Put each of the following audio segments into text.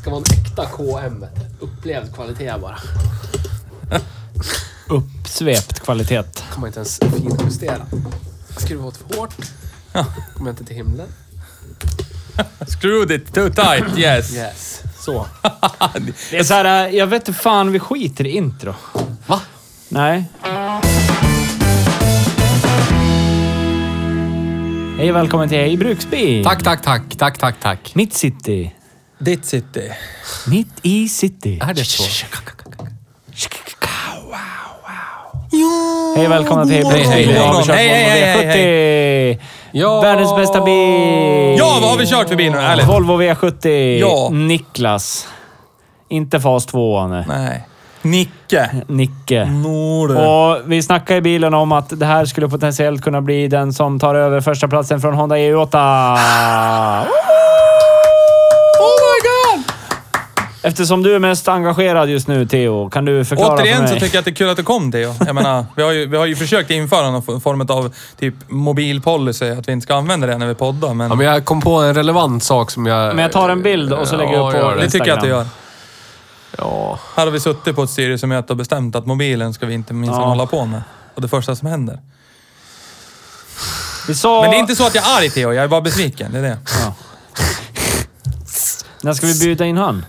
Ska vara en äkta KM. vet du. Upplevd kvalitet bara. Uppsvept kvalitet. Kommer inte ens finjustera. Skruva åt för hårt. Kommer inte till himlen. Screwed it too tight, yes. Yes. Så. Det är så här, eh, jag vet inte fan, vi skiter i intro. Va? Nej. Hej och välkommen till Hej Bruksby. Tack, tack, tack, tack, tack, tack. Mitt city. Ditt city. Mitt i city. Är det så? Hej och välkomna till Hej hej, Bruksby. hej. Idag har vi kört Hej, hej, Volvo hej, V70. Ja. Världens bästa bil. Ja, vad har vi kört för bil nu? Ärligt. Volvo V70. Ja. Niklas. Inte fas 2 nej. Nej. Nicke. Nicke. Norde. Och vi snackade i bilen om att det här skulle potentiellt kunna bli den som tar över första platsen från Honda E E8. Oh my god! Eftersom du är mest engagerad just nu, Theo, kan du förklara för Återigen så mig? tycker jag att det är kul att du kom Theo. Jag menar, vi har ju, vi har ju försökt införa någon form av typ mobilpolicy, att vi inte ska använda det när vi poddar, men, Ja, men jag kom på en relevant sak som jag... Men jag tar en bild och så lägger jag upp på Ja, gör det det. tycker jag att du gör. Ja. Här har vi suttit på ett styrelsemöte och bestämt att mobilen ska vi inte minst Ja. hålla på med. Och det första som händer. Vi sa... Men det är inte så att jag är arg Theo, jag är bara besviken. Det är det. När ska vi bjuda in han?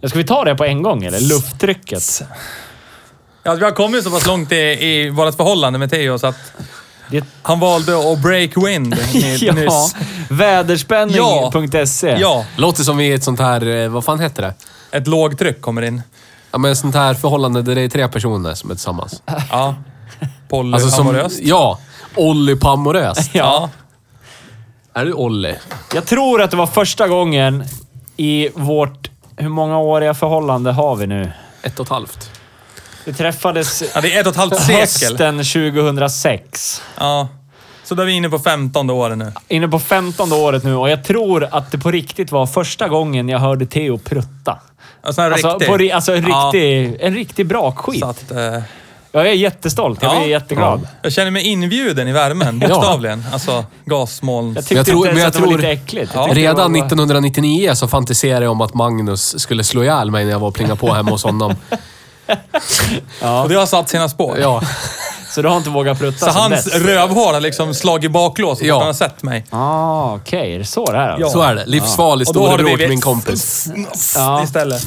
Ja, Ska vi ta det på en gång, eller? Lufttrycket. Ja, vi har kommit så pass långt i, i vårt förhållande med Theo så att Det... han valde att break wind Ja. nyss. Väderspänning.se. Ja, Låter som vi är ett sånt här... eh, Vad fan heter det? ett lågtryck kommer in. Ja, men ett sånt här förhållande där det är tre personer som är tillsammans. Ja. Alltså som... Polyamoröst. Ja. Ollipamoröst. ja. Är du Olli? Jag tror att det var första gången i vårt... Hur många åriga förhållande har vi nu? Ett och ett halvt. Vi träffades Ja, det är ett och ett halvt sekel. hösten 2006. Ja. Så då är vi inne på femtonde året nu. Inne på 15 året nu och jag tror att det på riktigt var första gången jag hörde Theo prutta. Alltså en Alltså, riktig. på, ri- alltså en Ja. riktig, en riktig bra skit. Så att, eh, Jag är jättestolt. Jag Ja. blir jätteglad. jag känner mig inbjuden i värmen, bokstavligen. Alltså gasmoln. Jag tyckte Jag tror- inte ens men jag att det var tror- lite äckligt. Jag Ja. tyckte det Redan var- 1999 så fantiserade jag om att Magnus skulle slå ihjäl mig när jag var och plingade på hemma hos honom. Och det har satt sina spår. Ja. Så du har inte vågat prutta Så sen hans dess? rövhål har liksom slagit baklås så Ja. att han har sett mig. Ah, Okej, är det så det här alltså? Ja. Så är det. Livsfarlig Och då har det storebror blivit till min kompis. Ja. istället.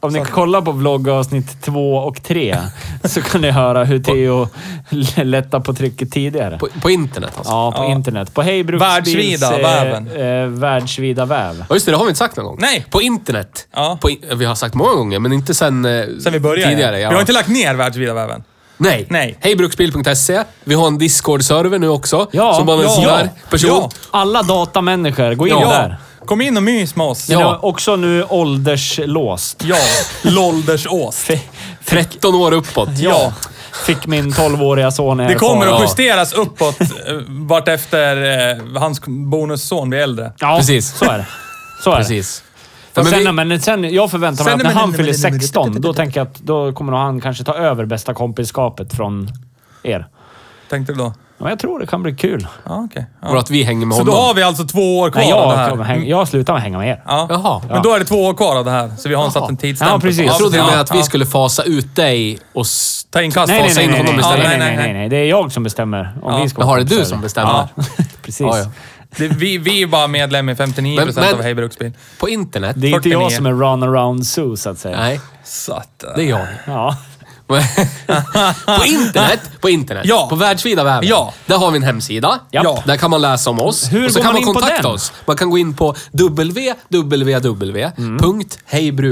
Om ni kollar på vloggavsnitt två och tre så kan ni höra hur Theo lättar på trycket tidigare. På, på internet alltså. Ja, på internet. På Hej Bruksbils... Världsvida väven. Eh, världsvida väv. Ja, just det. Det har vi inte sagt någon gång. Nej. På internet. Ja. På in vi har sagt många gånger, men inte sen... eh, Sen vi började. Tidigare, ja. Vi har inte lagt ner världsvida väven. Nej. Nej. Hejbruksbil.se. Vi har en Discord-server nu också. Ja. Som bara en Ja. sån där Ja. person. Ja. Alla datamänniskor, gå in Ja. där. Kom in och mys med oss. Men Ja. det var också nu ålderslåst. Ja. Loldersås. F- 13 år uppåt. ja. Fick min 12-åriga son Det kommer att Ja. justeras uppåt eh, vartefter eh, hans bonusson blir äldre. Ja, Precis. så är det. Så är det. Precis. Ja, Och men sen, vi, men sen, jag förväntar mig Sen- att när men- han men- fyller men- men- 16, då tänker jag att då kommer nog han kanske ta över bästa kompisskapet från er. Tänkte du då? Ja, Men jag tror det kan bli kul. Ja, okej. och Ja. att vi hänger med Så då honom. har vi alltså två år kvar Nej, av det jag, här. kommer häng, jag slutar med att hänga med er. Ja. Jaha. Men då är det två år kvar av det här, så vi har en satt en tidsstämpel. Ja, precis. på. Jag trodde ja, med att vi ja. skulle fasa ut dig och... s- Ta in kast. Nej, nej, Fasa nej, in nej, honom nej, istället. nej, Ja, nej, nej, nej, nej. Det är jag som bestämmer om Ja. vi ska vara Jaha, det är kompisar du eller- som bestämmer. Precis. Ja, ja. Det, vi, vi är bara medlem i 59% Men- men- av Hej Bruksbil. På internet? Det är inte 49. jag som är runaround Sue, så att säga. Nej, Så att... eh, det är jag. Ja. på internet! På internet. Ja. På världsvida väven. Ja. Där har vi en hemsida. Ja. Där kan man läsa om oss. Hur och så går kan man in på kontakta den? oss. Man kan gå in på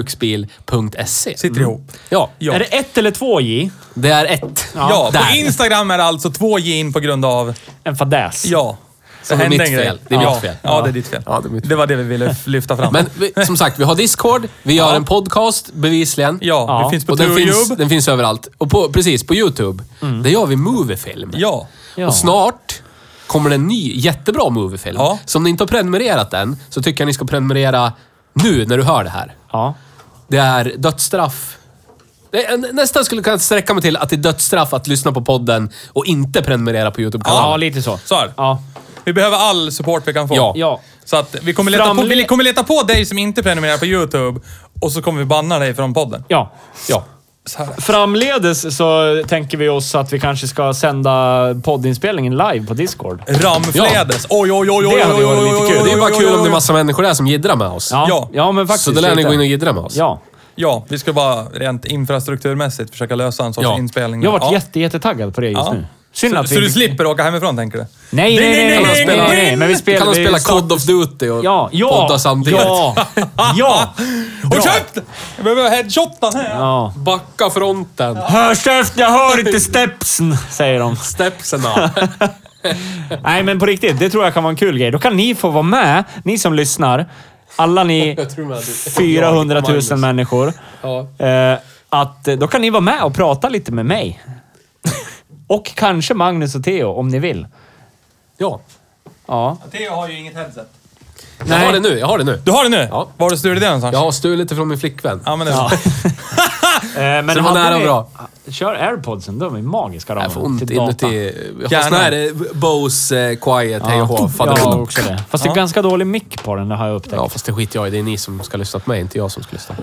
www.hejbruksbil.se. Sitter ihop. Ja. Mm. Ja. Är det ett eller två J? Det är ett. Ja, Där. på Instagram är det alltså två gin på grund av... En fadäs? Ja. Så det är hände mitt en grej. fel. Det är ja. mitt fel. Ja, det är ditt fel. Ja, det är mitt fel. var det vi ville lyfta fram. Men vi, som sagt, vi har Discord. Vi gör en podcast, bevisligen. ja, Ja. vi finns på Och den finns, Turejub. den finns överallt. Och på, precis, på YouTube. Där gör vi moviefilm. Mm. Ja. Ja. Och snart kommer det en ny jättebra moviefilm. Ja. Så om ni inte har prenumererat den, så tycker jag ni ska prenumerera nu när du hör det här. Ja. Det är dödsstraff. Det är- Nästan skulle jag kunna sträcka mig till att det är dödsstraff att lyssna på podden och inte prenumerera på ja, YouTube-kanalen. lite så. Så är det. Ja. Vi behöver all support vi kan få. Ja. Ja. Så att vi kommer, leta på, Framle- vi kommer leta på dig som inte prenumererar på YouTube och så kommer vi banna dig från podden. ja. Ja. Så här. Framledes så tänker vi oss att vi kanske ska sända poddinspelningen live på Discord. Eh, Ramfledes. Oj, oj, oj, oj, Det oj, hade oj, varit oj, lite oj, kul. oj, Det är bara oj, kul oj, om det oj. är massa människor där som jiddrar med oss. Ja. Ja, ja men faktiskt. Så då lär ni lite. gå in och jiddra med oss. Ja. Ja, vi ska bara rent infrastrukturmässigt försöka lösa en sorts Ja. inspelning. Jag har varit Ja. jätte, jättetaggad på det just Ja. nu. Synd Så, att så vi... du slipper åka hemifrån, tänker du? Nej, nej, nej, nej, Kan nej, de nej, spela, nej, nej, men vi spelar... kan de spela vi startar- Cod of Duty och Ja, ja, podda samtidigt? ja, ja, Håll käften! Jag behöver headshotan här. ja. Backa fronten. Hör käften, jag hör inte stepsen, säger de. Stepsena. Nej, men på riktigt, det tror jag kan vara en kul grej. Då kan ni få vara med, ni som lyssnar. Alla ni Jag tror med att det- 400 000 Magnus. människor. Ja. Eh, att eh, då kan ni vara med och prata lite med mig. och kanske Magnus och Theo, om ni vill. ja. Ja. Theo har ju inget headset. Jag har det nu. Jag har det nu. Du har det nu? Ja. Var har du stulit det någonstans? Jag har stulit det från min flickvän. Ja, men det är Ja. bra. Eh, men Så det var hade nära ni- Ah, och bra. Kör airpodsen, de är magiska. De Jag får ont till data. inuti. Jag har Hjärnan. sån här eh, Bose eh, Quiet Hej och Hå. Jag har faderullan. också det. Fast det är ganska dålig mick på den, det har jag upptäckt. Ja, fast det skiter jag i. Det är ni som ska lyssna på mig, inte jag som ska lyssna.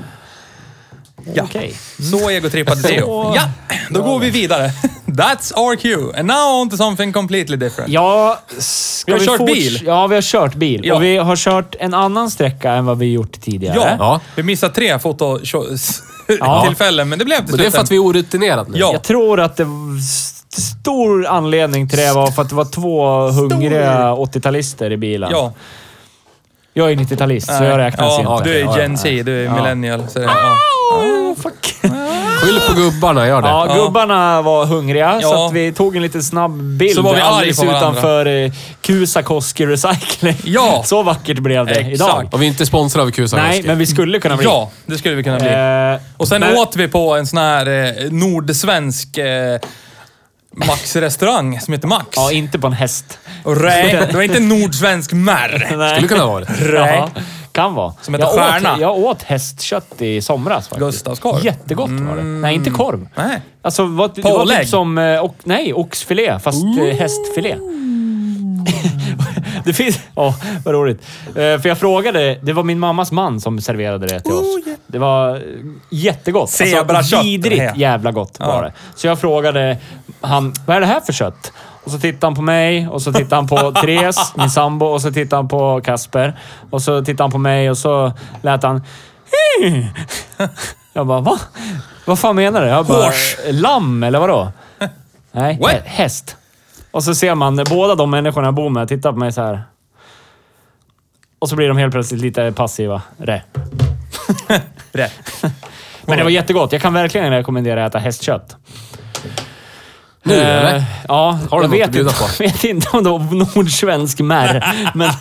Ja. Okej. Så egotrippade Theo. Mm. Så- Ja, då går vi vidare. That's our cue. And now on to something completely different. Ja, ska Vi har kört forts- bil. Ja, vi har kört bil. Ja. Och vi har kört en annan sträcka än vad vi gjort tidigare. Ja, Ja. vi missade tre Ja. fototillfällen, men det blev till Men det är slut för att vi är orutinerade nu. Ja. Jag tror att det var st- stor anledning till det var för att det var två hungriga 80-talister i bilen. Ja. Jag är 90-talist, så jag räknas ja, inte. Du är Ja, Ah! Gen Z, du är millennial. Så det, ja. Oh, fuck. Skyll på gubbarna, gör det. Ja, gubbarna var hungriga, så Ja. att vi tog en liten snabb bild Så var vi arga alldeles på varandra. utanför eh, Kusakoski Recycling. Ja. Så vackert blev det Exakt. idag. Och vi är inte sponsrade av Kusa Nej, men vi skulle kunna bli. ja, det skulle vi kunna bli. Eh, Och sen men- åt vi på en sån här eh, nordsvensk eh, Max-restaurang som heter Max. Ja, inte på en häst. Och nej, det var inte en nordsvensk märr. Nej. Skulle kunna vara det. Ja, kan vara. Som heter jag Stjärna. Åt, jag åt hästkött i somras faktiskt. Gustavskorv. Jättegott var det. Mm. Nej, inte korv. Nej. Alltså, vad, det var Pålägg. typ som... eh, Och, nej, oxfilé, fast eh, hästfilé. det finns... Ja, vad roligt. Eh, För jag frågade... Det var min mammas man som serverade det till oss. Det var eh, jättegott. Alltså, Zebrakött, det vidrigt här. jävla gott var det. Så jag frågade han, vad är det här för kött? Och så tittade han på mig och så tittade han på Therese, min sambo, och så tittade han på Kasper. Och så tittade han på mig och så lät han... "Hmm." Jag bara, va? Vad fan menar du? Jag bara, Hårs. lamm eller vadå? Nej, What? hä- häst. Och så ser man båda de människorna jag bor med tittar på mig så här. Och så blir de helt plötsligt lite passiva. Rä. Rätt. Men det var jättegott. Jag kan verkligen rekommendera att äta hästkött. Nu, eller? Eh, ja, Har du jag något vet att bjuda inte, vet inte om det var nordsvensk märr, men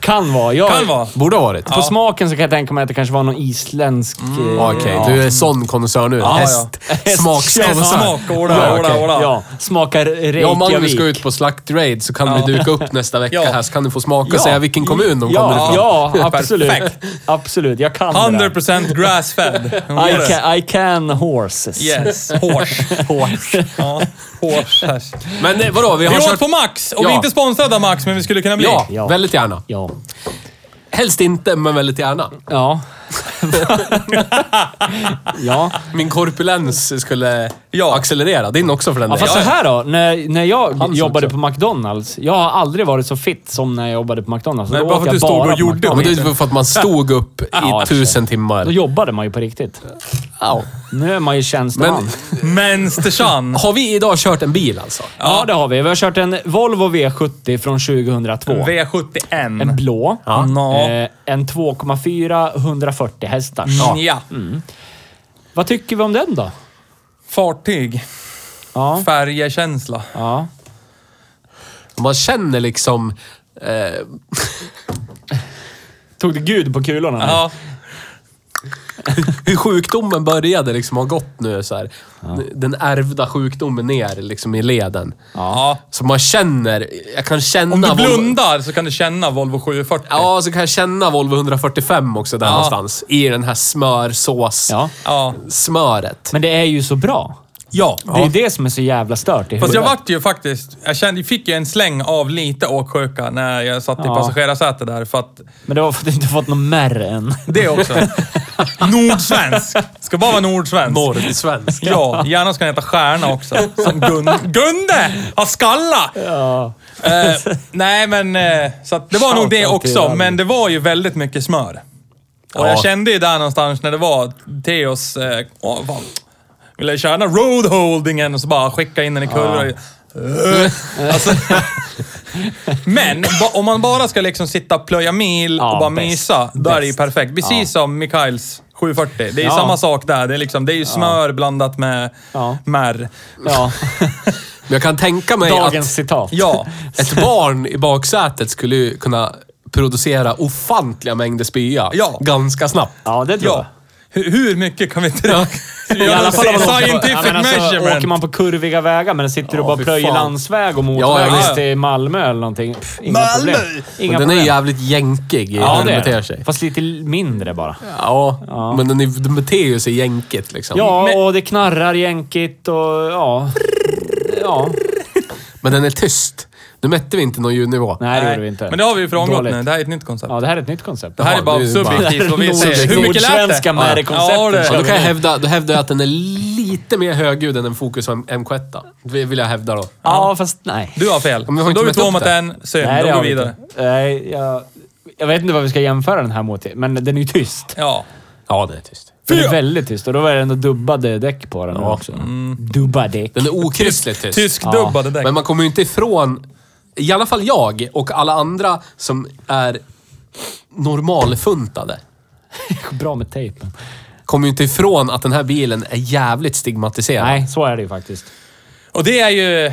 kan vara. Jag, Kan vara. Borde ha varit. På smaken så kan jag tänka mig att det kanske var någon isländsk... eh, Mm. Okej, du är sån konnässör nu. Häst. Smakskonnässör. Smak, orda, Ja, orda, okej. orda. Ja, smakar Jag och Magnus Reykjavik. ska ut på slaktraid så kan vi duka upp nästa vecka Ja. här så kan du få smaka och säga vilken kommun de ja, kommer ifrån. Ja, absolut. Perfekt. Absolut, jag kan det där. 100% grass-fed. I can, I can horses. Yes, horse. horse. Ja, horse. hash. Men eh, vadå, vi Vi har åt kört... på Max och vi Ja. är inte sponsrade av Max, men vi skulle kunna bli. Ja, Ja. väldigt gärna. Ja. Helst inte, men väldigt gärna. Ja. Ja. Min korpulens skulle Ja. accelerera. Din också för den Ja, fast så delen. här då. När, när jag Hans jobbade också. på McDonalds. Jag har aldrig varit så fit som när jag jobbade på McDonalds. Nej, då bara åt för att jag du stod bara och på gjorde McDonald's. det. men det är ju för att man stod upp i Ja, i och för sig. tusen timmar. Då jobbade man ju på riktigt. Au. Nu är man ju tjänsteman. Men- Mänstersan. Har vi idag kört en bil alltså? Ja, det har vi. Vi har kört en Volvo V70 från 2002. V71. En blå. Mm. Ja. Mm. Nå. Eh, en 2,4 140 hästar. Ja. Vad tycker vi om den då? Fartyg. Ja. Färjekänsla. ja. Man känner liksom... Eh, Tog det gud på kulorna? nu? Ja. hur sjukdomen började liksom har gått nu så här. Den ärvda sjukdomen ner liksom i leden. ja. Så man känner... Jag kan känna... Om du Volvo- blundar så kan du känna Volvo 740. Ja, så kan jag känna Volvo 145 också där Ja. någonstans. I den här smörsås... ja. Ja. Smöret. Men det är ju så bra. ja. Det är det som är så jävla stört i Fast jag huvudet. vart ju faktiskt... Jag kände, fick ju en släng av lite åksjuka när jag satt i Ja. passagerarsätet där för att... Men det var för att du inte fått någon märr än. Det också. nordsvensk. Ska bara vara nordsvensk. Norrsvensk. Ja, gärna ska den heta Stjärna också. Som Gun- Gunde! Har skalla! Ja. Eh, nej, men eh, så att det var nog det Shoutout till också, världen. men det var ju väldigt mycket smör. Och Ja. jag kände ju där någonstans när det var Theos... Eh, åh, vad, ville köra den här roadholdingen och så bara skicka in den i kurvor. Eh, alltså, men ba, om man bara ska liksom sitta och plöja mil Ja, och bara bäst. mysa, då är det ju Bäst. perfekt. Precis som Mikaels 740. Det är ju Ja. samma sak där. Det är, liksom, det är ju smör blandat med Ja. märr. ja. Men jag kan tänka mig Dagens att citat. Ja. ett barn i baksätet skulle ju kunna producera ofantliga mängder spya Ja. ganska snabbt. Ja, det tror Ja. jag. Hur, hur mycket kan vi dra? I alla fall om man åker på, ja, scientific men alltså, measurement. åker man på kurviga vägar men sitter du och bara fy plöjer fan. landsväg och Ja, motorväg ja, visst. till Malmö eller någonting. Pff, inga Malmö! problem. Inga Men den är problem. jävligt jänkig i ja, hur det den är beter den. sig. Fast lite mindre bara. Ja, men den, är, den beter ju sig jänkigt liksom. Ja, Men- och det knarrar jänkigt och ja. Ja. Men den är tyst. Nu mätte vi inte någon ljudnivå. Nej, det Nej, gjorde vi inte. Men det har vi ju frångått Dåligt. nu. Det här är ett nytt koncept. Ja, det här är ett nytt koncept. Det här är bara det är ju bara- subjektivt vad vi säger. Hur mycket lät Nordsvenska det? märrkonceptet Ja, det- Ja, då, kan jag vi. hävda, då hävdar jag att den är lite mer högljudd än en Focus MK1. Det vill jag hävda då. Ja, fast nej. Du har fel. Ja, men vi har Då inte är vi mätt två upp mot det. en. Synd. nej, Då går har vi vi vidare. inte. Nej, jag, jag vet inte vad vi ska jämföra den här mot, men den är ju tyst. Ja. Ja, den är tyst. Den är Fyra. väldigt tyst och då var det ändå dubbade däck på den nu också. Mm. Dubba däck. Den är okristligt tyst. Tyskdubbade däck. Men man kommer ju inte ifrån, i alla fall jag och alla andra som är normalfuntade, Bra med tejpen. kommer ju inte ifrån att den här bilen är jävligt stigmatiserad. Nej, så är det ju faktiskt. Och det är ju...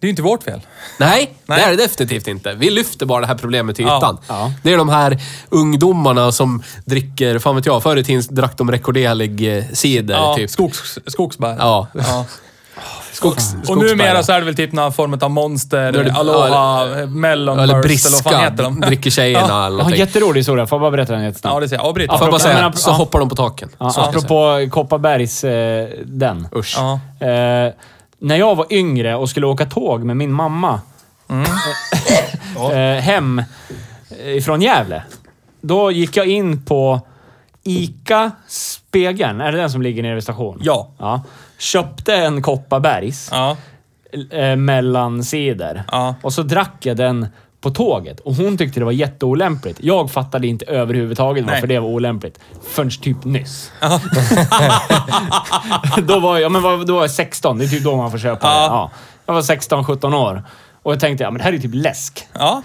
Det är ju inte vårt fel. Nej, Nej. det är det definitivt inte. Vi lyfter bara det här problemet till Ja. ytan. Ja. Det är de här ungdomarna som dricker, fan vet jag, förr i tiden drack de rekorderlig eh, cider Ja, typ. skogs, skogsbär. Ja. Ja. Skogs, Och skogsbära. numera så är det väl typ någon form av monster, Nu är det- aloha, mellonburst Eller eller vad fan briska heter de? dricker Ja. tjejerna eller Jag har en någonting. jätterolig historia. Får jag bara berätta den jättesnabbt? Ja, det ser jag. Avbryt. Får jag bara Ja, men säga, apro- så ja. hoppar de på taken. Ja, Så ska jag säga. apropå Kopparbergs... Eh, den. Usch. Ja. Eh, när jag var yngre och skulle åka tåg med min mamma Mm. eh, hem eh, ifrån Gävle. Då gick jag in på ICA-spegeln. Är det den som ligger nere vid stationen? Ja. ja. Köpte en Kopparbergs. Ja. eh, mellan sidor. Ja. Och så drack jag den på tåget och hon tyckte det var jätteolämpligt. Jag fattade inte överhuvudtaget varför Nej. det var olämpligt förrän typ nyss. då, var jag, men vad- då var jag 16, det är typ då man får köpa Ja. det. Ja. Jag var 16-17 år och jag tänkte ja, men det här är ju typ läsk. ja.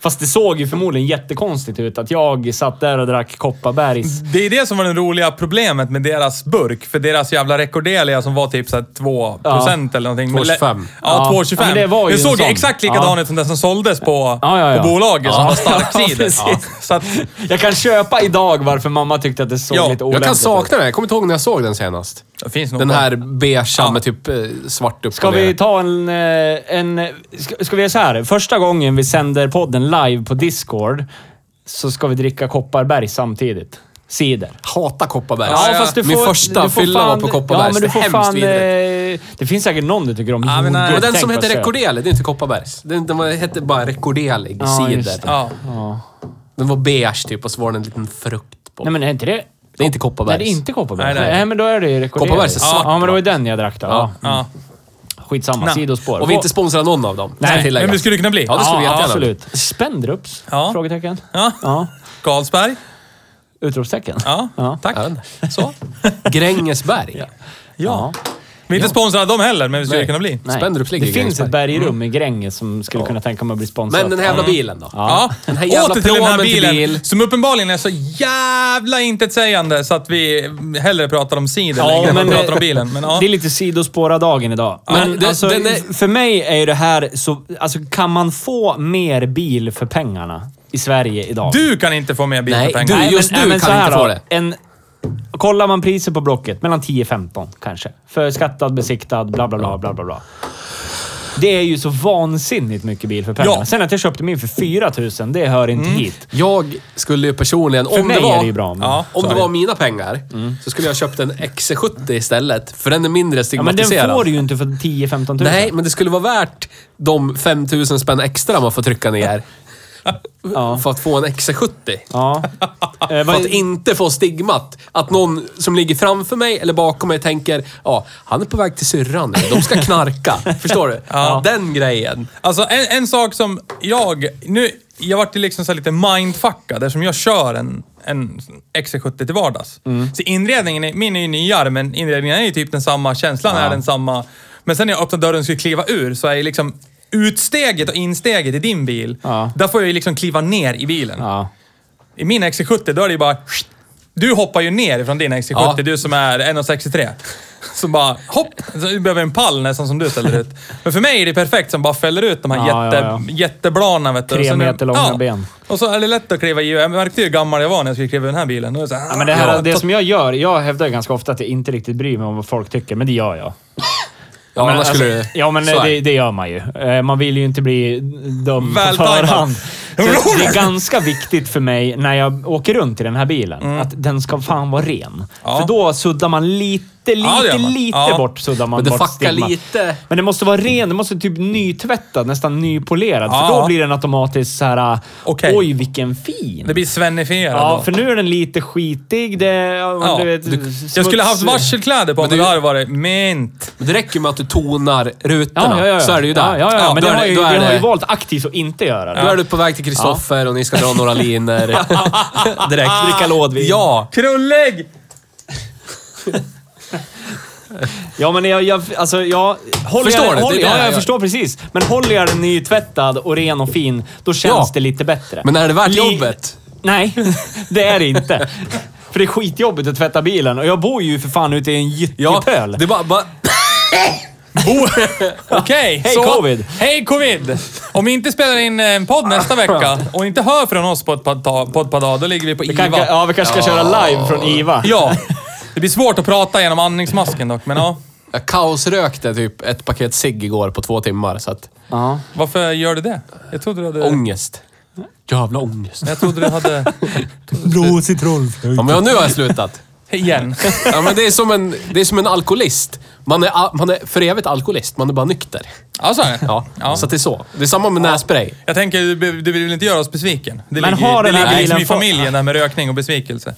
Fast det såg ju förmodligen jättekonstigt ut att jag satt där och drack Kopparbergs. Det är det som var det roliga problemet med deras burk. För deras jävla rekordelia som var typ såhär 2% eller någonting. 2,25. Ja, Ja. 2,25. Ja, men det var ju det en såg sån. exakt likadan Ja. ut som den som såldes på, Ja, ja, ja. på bolaget som Ja. var stark Ja, cider. precis. Så att, Jag kan köpa idag varför mamma tyckte att det såg Ja, lite Jag olämpligt kan ut. sakna den. Jag kommer inte ihåg när jag såg den senast. det finns nog Den kvar. här beigea med typ eh, svart upp Ska och ner. vi ta en... eh, en ska, ska vi göra så här? Första gången vi sänder podden live på Discord så ska vi dricka Kopparberg samtidigt. Cider. Hata Kopparbergs. Ja, fast Min första Alltså, du får fylla var fan- på Kopparbergs. Ja, men du får det är fan... hemskt vidrigt. eh, Det finns säkert någon du tycker om. men nej. Jordgubb, Men den tänk som vad hette söt. Rekorderlig, det är inte Kopparbergs. Den, den var, hette bara Rekorderlig Ja, just cider. det. Ja. Den var beige typ och så var det en liten frukt på. Nej, men är inte det... Det är inte Kopparbergs. Nej, det är inte Kopparbergs. Nej, Nej, nej. men då är det ju rekorderat. Kopparbergs är svart Ja, men det var ju den jag drack då. Ja. Ja. Skitsamma, Nej. sidospår. Och vi är inte sponsrar någon av dem. ska Nej, jag tillägga. Men vi skulle kunna bli. Ja, det skulle vi ja, jättegärna. absolut. Spendrups? Ja. Frågetecken. Ja. Ja. Carlsberg. Utropstecken. Ja, Ja. tack. Ja. Så. Grängesberg. Ja. Ja. Vi är inte sponsrade av dem heller, men vi skulle Nej. kunna bli. Nej. Spendrups ligger Det i finns Grängesberg. ett bergrum i Gränges som skulle kunna tänka mig att bli sponsrat. Men den här jävla bilen då? Ja. Den här jävla Åter till den här pråmen till bilen, bil. som uppenbarligen är så jävla intetsägande så att vi hellre pratar om cider Ja, längre än men vi det- pratar om bilen. Men, ja. Det är lite sidospår av dagen idag. Men det- alltså, den är- för mig är ju det här så... Alltså, kan man få mer bil för pengarna i Sverige idag? Du kan inte få mer bil Nej, för pengarna. du- just du kan så här inte då. få det. En, kollar man priser på Blocket, mellan 10-15 kanske. För skattad, besiktad, bla bla bla bla bla bla. Det är ju så vansinnigt mycket bil för pengarna. Ja. Sen att jag köpte min för 4 000, det hör inte hit. Jag skulle ju personligen... För Mm. om mig det var, är det ju bra. Men, Ja. Om det var mina pengar så skulle jag ha köpt en XC70 istället. För den är mindre ja, men den stigmatiserad. får du ju inte för 10-15 000. Nej, men det skulle vara värt de 5000 spänn extra man får trycka ner. Ja. För att få en XC70. Ja. Eh, För vad- att inte få stigmat. Att någon som ligger framför mig eller bakom mig tänker ja, han är på väg till syrran nu. De ska knarka. Förstår du? Den grejen. Alltså en, en sak som jag... Nu, jag vart ju liksom så här lite mindfuckad eftersom jag kör en, en XC70 till vardags. Mm. Så inredningen, är, min är ju nyare, men inredningen är ju typ densamma, känslan är densamma. Men sen när jag öppnar dörren och ska kliva ur så är ju liksom utsteget och insteget i din bil, Ja. där får jag ju liksom kliva ner i bilen. ja. I min XC70, då är det ju bara... Du hoppar ju ner från din XC70, Ja. du som är 1,63. Så bara hopp! Så Du behöver en pall nästan som du ställer ut. Men för mig är det perfekt som bara fäller ut de här Ja, jätte, ja, jätteblana. Vet du. Tre Och sen är- meter långa ben. Och så är det lätt att kliva i. Jag märkte ju hur gammal jag var när jag skulle kliva i den här bilen. Då är det så här, Ja, men det, här, ja, det som jag gör, jag hävdar ju ganska ofta att jag inte riktigt bryr mig om vad folk tycker, men det gör jag. Ja, men annars alltså, skulle du... ja, men så är det, det gör man ju. Eh, Man vill ju inte bli dum på Väl förhand. tajmat. Så det är ganska viktigt för mig när jag åker runt i den här bilen, att den ska fan vara ren. Mm. Ja. För då suddar man lite, lite, Ja, det gör man. lite Ja. bort suddar man Men det bort fuckar stigma. lite. Men den måste vara ren, den måste typ nytvättad, nästan nypolerad. Ja. För då blir den automatiskt så här. ah, Okej. oj vilken fin. Det blir svennifierad. Ja, då. för nu är den lite skitig. Det, ja, Ja, du vet, du- jag smuts- skulle haft varselkläder på mig. Men Det du- hade varit mint. Men det räcker med att du tonar Ja, rutorna. ja, ja. Så är det ju där. Ja, ja, ja. men då det är har ju, då är vi har ju det- valt aktivt att inte göra det. Då är du på väg till Kristoffer och ni ska dra några linor. Direkt. Dricka lådvin. Ja. Krullig! Ja, men jag... jag alltså, jag håller Förstår jag, du? Det är Håller, det ja, jag jag, gör. förstår precis. Men håller jag den nytvättad och ren och fin, då känns Ja. det lite bättre. Men är det värt Li- jobbet? Nej, det är det inte. För det är skitjobbigt att tvätta bilen och jag bor ju för fan ute i en Ja. gyttjepöl. Det är bara, bara... Oh. Okej, Hej, så... covid. Hej covid! Om vi inte spelar in eh, en podd nästa vecka och inte hör från oss på ett par ta- podd per dag, då ligger vi på Vi kan, IVA. ja, vi kanske ska köra live från IVA. Ja. Det blir svårt att prata genom andningsmasken dock, men ja. Jag kaosrökte typ ett paket cigg igår på två timmar, så att... Ja. Varför gör du det? Jag trodde du hade... Ångest. Jävla ångest. Jag trodde du hade... Blå citronflöjt. Ja, men jag- nu har jag slutat. Igen. Ja, men det, är som en, det är som en alkoholist. Man är, a- man är för evigt alkoholist, man är bara nykter. Ja, så är det. Ja, Ja. Så att det är så. Det är samma med nässpray. Jag tänker, du, be- du vill väl inte göra oss besviken? Det Men ligger, har det den här ligger liksom bilen i fått- familjen, det här med rökning och besvikelse.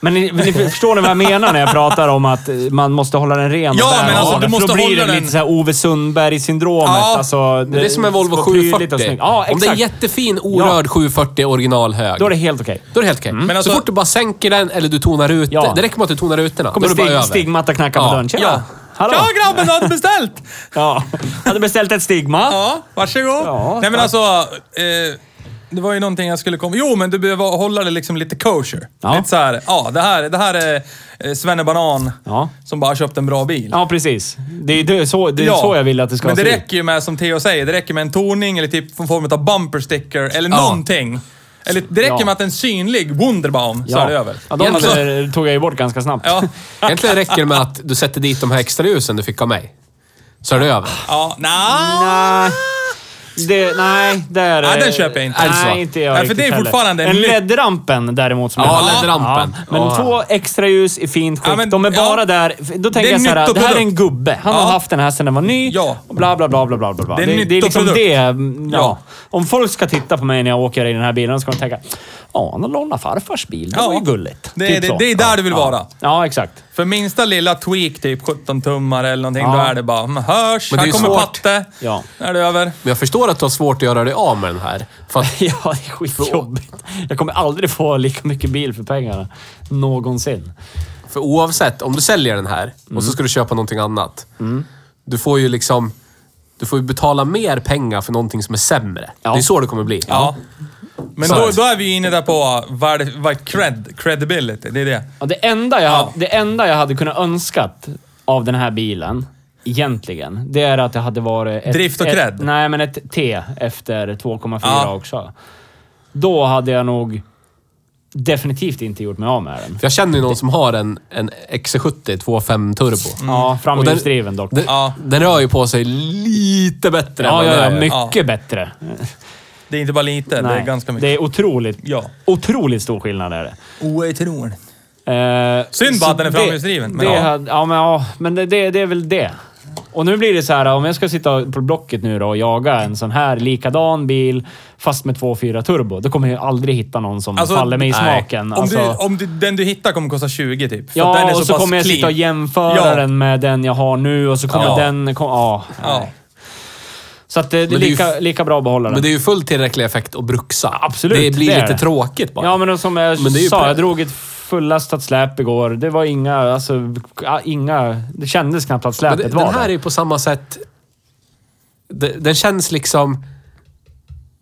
Men ni, ni förstår ni vad jag menar när jag pratar om att eh, man måste hålla den ren och Ja, bär men alltså, av du den? För måste då blir hålla det den- lite såhär Ove Sundberg-syndromet. Ja, alltså, Det är som en Volvo ska vara prydligt och 740. snyggt. Ja, exakt. Om det är en jättefin orörd 740 originalhög. Då är det helt okej. Då är det helt okej. Men alltså- så fort du bara sänker den eller du tonar ut Ja. Det räcker med att du tonar rutorna. Då kommer är det bara stig, över. stigmat att knacka Ja, på dörren. Tjena! ja. Hallå! Tja grabben, du hade beställt! Ja. Hade beställt ett stigma. Ja, varsågod. Ja, Nej men alltså, eh, det var ju någonting jag skulle komma... Jo, men du behöver hålla det liksom lite kosher. Ja. Lite så här, ja, det här, det här är eh, Svenne Banan Ja. som bara har köpt en bra bil. Ja, precis. Det är, det är, så, det är så jag vill att det ska Men det se ut. räcker ju med, som Theo säger, det räcker med en toning eller typ en form av bumper sticker eller någonting. Eller det räcker Ja. med att en synlig Wunderbaum så Ja. är det över. Ja, de Egentligen- hade- tog jag ju bort ganska snabbt. Ja, Egentligen räcker det med att du sätter dit de här extra ljusen du fick av mig. Så är det över. ja, nja. Nej. Det, nej, där... Nej, den köper jag inte. Alltså. Nej, Är det så? inte jag Nej, för riktigt det är heller. fortfarande en en myt. LED-rampen däremot. Som Ja, jag har. LED-rampen. men Ja. två extra ljus i fint skick. Ja, men- De är bara ja. där... Då Det är tänker jag så här, det här är en nyttoprodukt. gubbe. Han Ja. har haft den här sedan den var ny. Ja. Och bla, bla, bla, bla, bla, bla. Det är en det, är liksom nyttoprodukt. det. mm, Ja. Ja. Om folk ska titta på mig när jag åker i den här bilen, så ska de tänka Ja, han har lånat farfars bil. Det Ja. var ju gulligt. Det- Typ det- så. det är där Ja. du vill ja. vara. Ja, exakt. För minsta lilla tweak, typ 17 tummar eller någonting, Ja. då är det bara "Mm, hörs, Men det är här ju kommer svårt. Patte. Ja. Är det över? Men jag förstår att du har svårt att göra dig av med den här. För att, Ja, det är skitjobbigt. Jag kommer aldrig få lika mycket bil för pengarna. Någonsin. för oavsett, om du säljer den här och så ska du köpa någonting annat. Du får ju liksom... Du får ju betala mer pengar för någonting som är sämre. Ja. Det är så det kommer bli. Ja. Men Så är då, det. då är vi inne där på vad, vad cred, credibility, det är det. Ja, det, enda jag, det enda jag hade kunnat önskat av den här bilen, egentligen, det är att det hade varit... Ett, Drift och ett- cred. Nej, men ett T efter 2,4 Ja. också. Då hade jag nog definitivt inte gjort mig av med den. För jag känner ju någon som har en, en XC70 2.5 turbo. Mm. Ja, Och den- framhjulsdriven dock. Den, Ja. den rör ju på sig lite bättre ja, än vad den ja, här ja, gör. mycket bättre. Det är inte bara lite, det är Nej, ganska Det mycket. är otroligt, Ja. otroligt stor skillnad är det. Otroligt. Eh, Synd bara så att den är det- framhjulsdriven, men det ja. hade- ja, men, ja, men det, det, det är väl det. Och nu blir det så här, om jag ska sitta på Blocket nu då och jaga en sån här likadan bil, fast med 2.4 turbo, då kommer jag ju aldrig hitta någon som Alltså, faller mig i nej. Om, smaken. Alltså, du, om du, den du hittar kommer kosta 20 typ. För att den ja, är och så pass kommer jag clean. sitta och jämföra Ja. den med den jag har nu och så kommer Ja. den... Kom, ja, Ja. nej. Så att det, det är Men det är ju lika, f- lika bra att behålla Men den. det är ju fullt tillräcklig effekt att bruksa. Absolut, Det blir det är lite det. tråkigt bara. Ja, men som jag Men det är ju sa, pre- jag drog ett fullastat släp igår. Det var inga... Alltså, ja, inga... Det kändes knappt att Men släpet det, var den här där. är ju på samma sätt... Det, den känns liksom...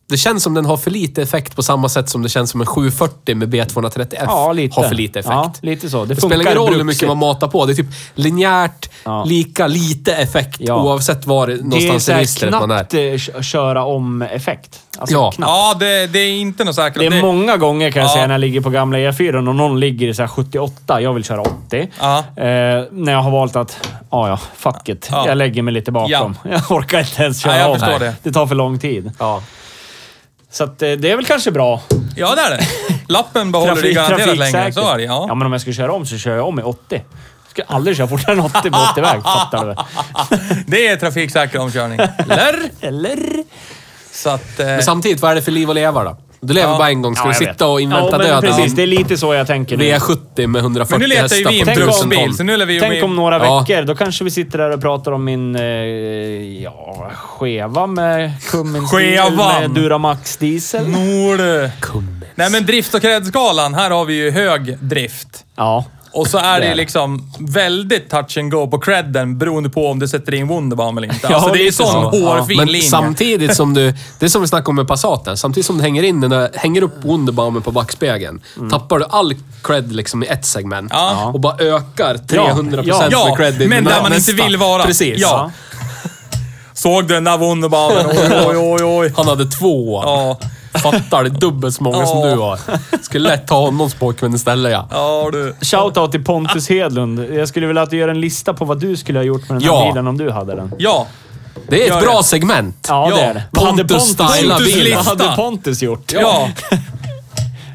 Det känns som den har för lite effekt på samma sätt som det känns som en 740 med B230F Ja, lite. har för lite effekt. Ja, lite så. Det Det spelar funkar ingen roll hur bruksigt. mycket man matar på. Det är typ linjärt, Ja. lika lite effekt Ja. oavsett var någonstans det i är registret man är. knappt eh, kö- köra om-effekt. Alltså, Ja. knappt. Ja, det, det är inte något säkert. Det är många gånger kan jag Ja. säga när jag ligger på gamla E4 och någon ligger i så här 78. Jag vill köra 80. Ja. Eh, när jag har valt att, ja ja, fuck it. Ja. Jag lägger mig lite bakom. Jag orkar inte ens köra Nej, jag om. förstår det. tar för lång tid. Ja. Så att, eh, det är väl kanske bra. Ja, det är det. Lappen behåller dig garanterat längre. Så är det, ja. ja. men om jag ska köra om så kör jag om i 80. Jag ska aldrig köra fortare än 80 på 80-väg, fattar du väl? Det är trafiksäker omkörning. Eller? Eller? Så att... Eh, Men samtidigt, vad är det för liv att leva då? Du lever Ja. bara en gång. Ska Ja, du jag vet. sitta och invänta ja, men döden? Precis, det är lite så jag tänker nu. V70 med 140 men nu letar hästar ju vi på en Tänk om- 1000 ton. bruksbil, så nu lever vi ju Tänk om med... några Ja. veckor, då kanske vi sitter där och pratar om min eh, ja, skeva med Cummins diesel Skevan. med Duramax diesel. Nor. Nej, men drift och kredskalan. Här har vi ju hög drift. Ja. Och så är Det det är det. liksom väldigt touch and go på credden beroende på om du sätter in Wunderbaum eller inte. Ja, Alltså det är ju lite sån så. hårfin Men linje. samtidigt som du... Det är som vi snackade om med Passaten. Samtidigt som du hänger in den där, hänger upp Wunderbaumen på backspegeln. Tappar du all cred liksom i ett segment Mm. Ja. och bara ökar 300% Ja. Ja, med cred i men den där man nästa. inte vill vara. Precis. Ja. Såg du den där Wunderbaumen? Oj, oj, oj, oj. Han hade två. Ja. Fattar, det är dubbelt så många som Ja. du har. Skulle lätt ta honom som pojkvän istället ja. Ja, du. Shoutout till Pontus Hedlund. Jag skulle vilja att du gör en lista på vad du skulle ha gjort med den här Ja. bilen om du hade den. Ja. Det är Gör ett bra det. segment. Ja, Ja, det är det. Vad hade Pontus styla Pontus- bilen. Vad hade Lista. Pontus gjort? Ja.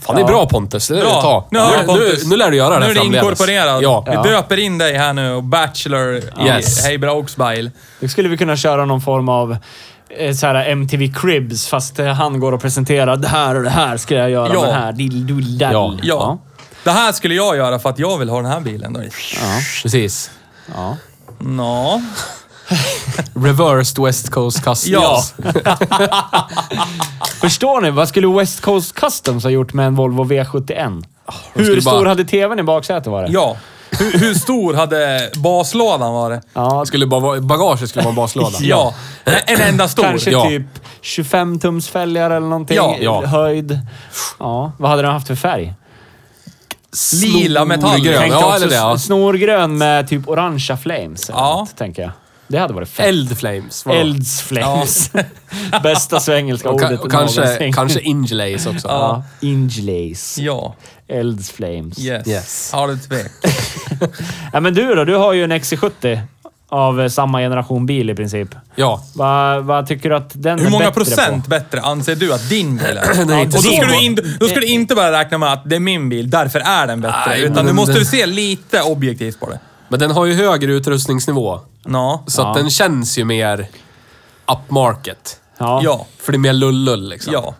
Fan, det är bra Pontus. Det lär du Bra. ta. Nu har du, nu, nu, Pontus. nu lär du göra Nu det är det inkorporerat. Ja. Vi döper in dig här nu och Bachelor Yes. i Hej Brauxbeil. Då skulle vi kunna köra någon form av eh, så här MTV Cribs, fast eh, han går och presenterar det här och det här ska jag göra Ja. med det här. Dill, dull, dall. Ja. Ja. Det här skulle jag göra för att jag vill ha den här bilen. Då. Precis. Ja. Nå. Reversed West Coast Customs. Ja. Förstår ni? Vad skulle West Coast Customs ha gjort med en Volvo V71? Hur skulle bara- stor hade TVn i baksätet varit? Ja. Hur, hur stor hade baslådan varit? Ja, Det skulle bara vara, bagaget skulle vara en baslåda. Ja. En enda stor. kanske ja. typ 25-tumsfälgar eller någonting. Ja, ja. Höjd. Ja. Vad hade den haft för färg? Lila metall. Snorgrön. Tänkte Ja, också eller det. Ja. s- snorgrön med typ orangea flames. eller Ja. något, tänker jag. Det hade varit fett. Eldflames. vadå? Elds flames. Bästa svengelska Och, ka- ordet och kanske, någonsin. kanske Ingelace också. Ja. Ingelace. Ja. Elds flames. Yes. Yes. Har du tvek? Ja, men du då? Du har ju en XC70. av eh, samma generation bil i princip. Ja. Vad vad tycker du att den Hur är många bättre procent på? bättre anser du att din bil är? Den är Ja, inte och då så ska, bra. du in, då ska du inte bara räkna med att det är min bil, därför är den bättre. Nej, utan men- du måste se lite objektivt på det. Men den har ju högre utrustningsnivå. Ja. Så att den känns ju mer upmarket. Ja. Ja. Ja. För det är mer lull-lull liksom. Ja.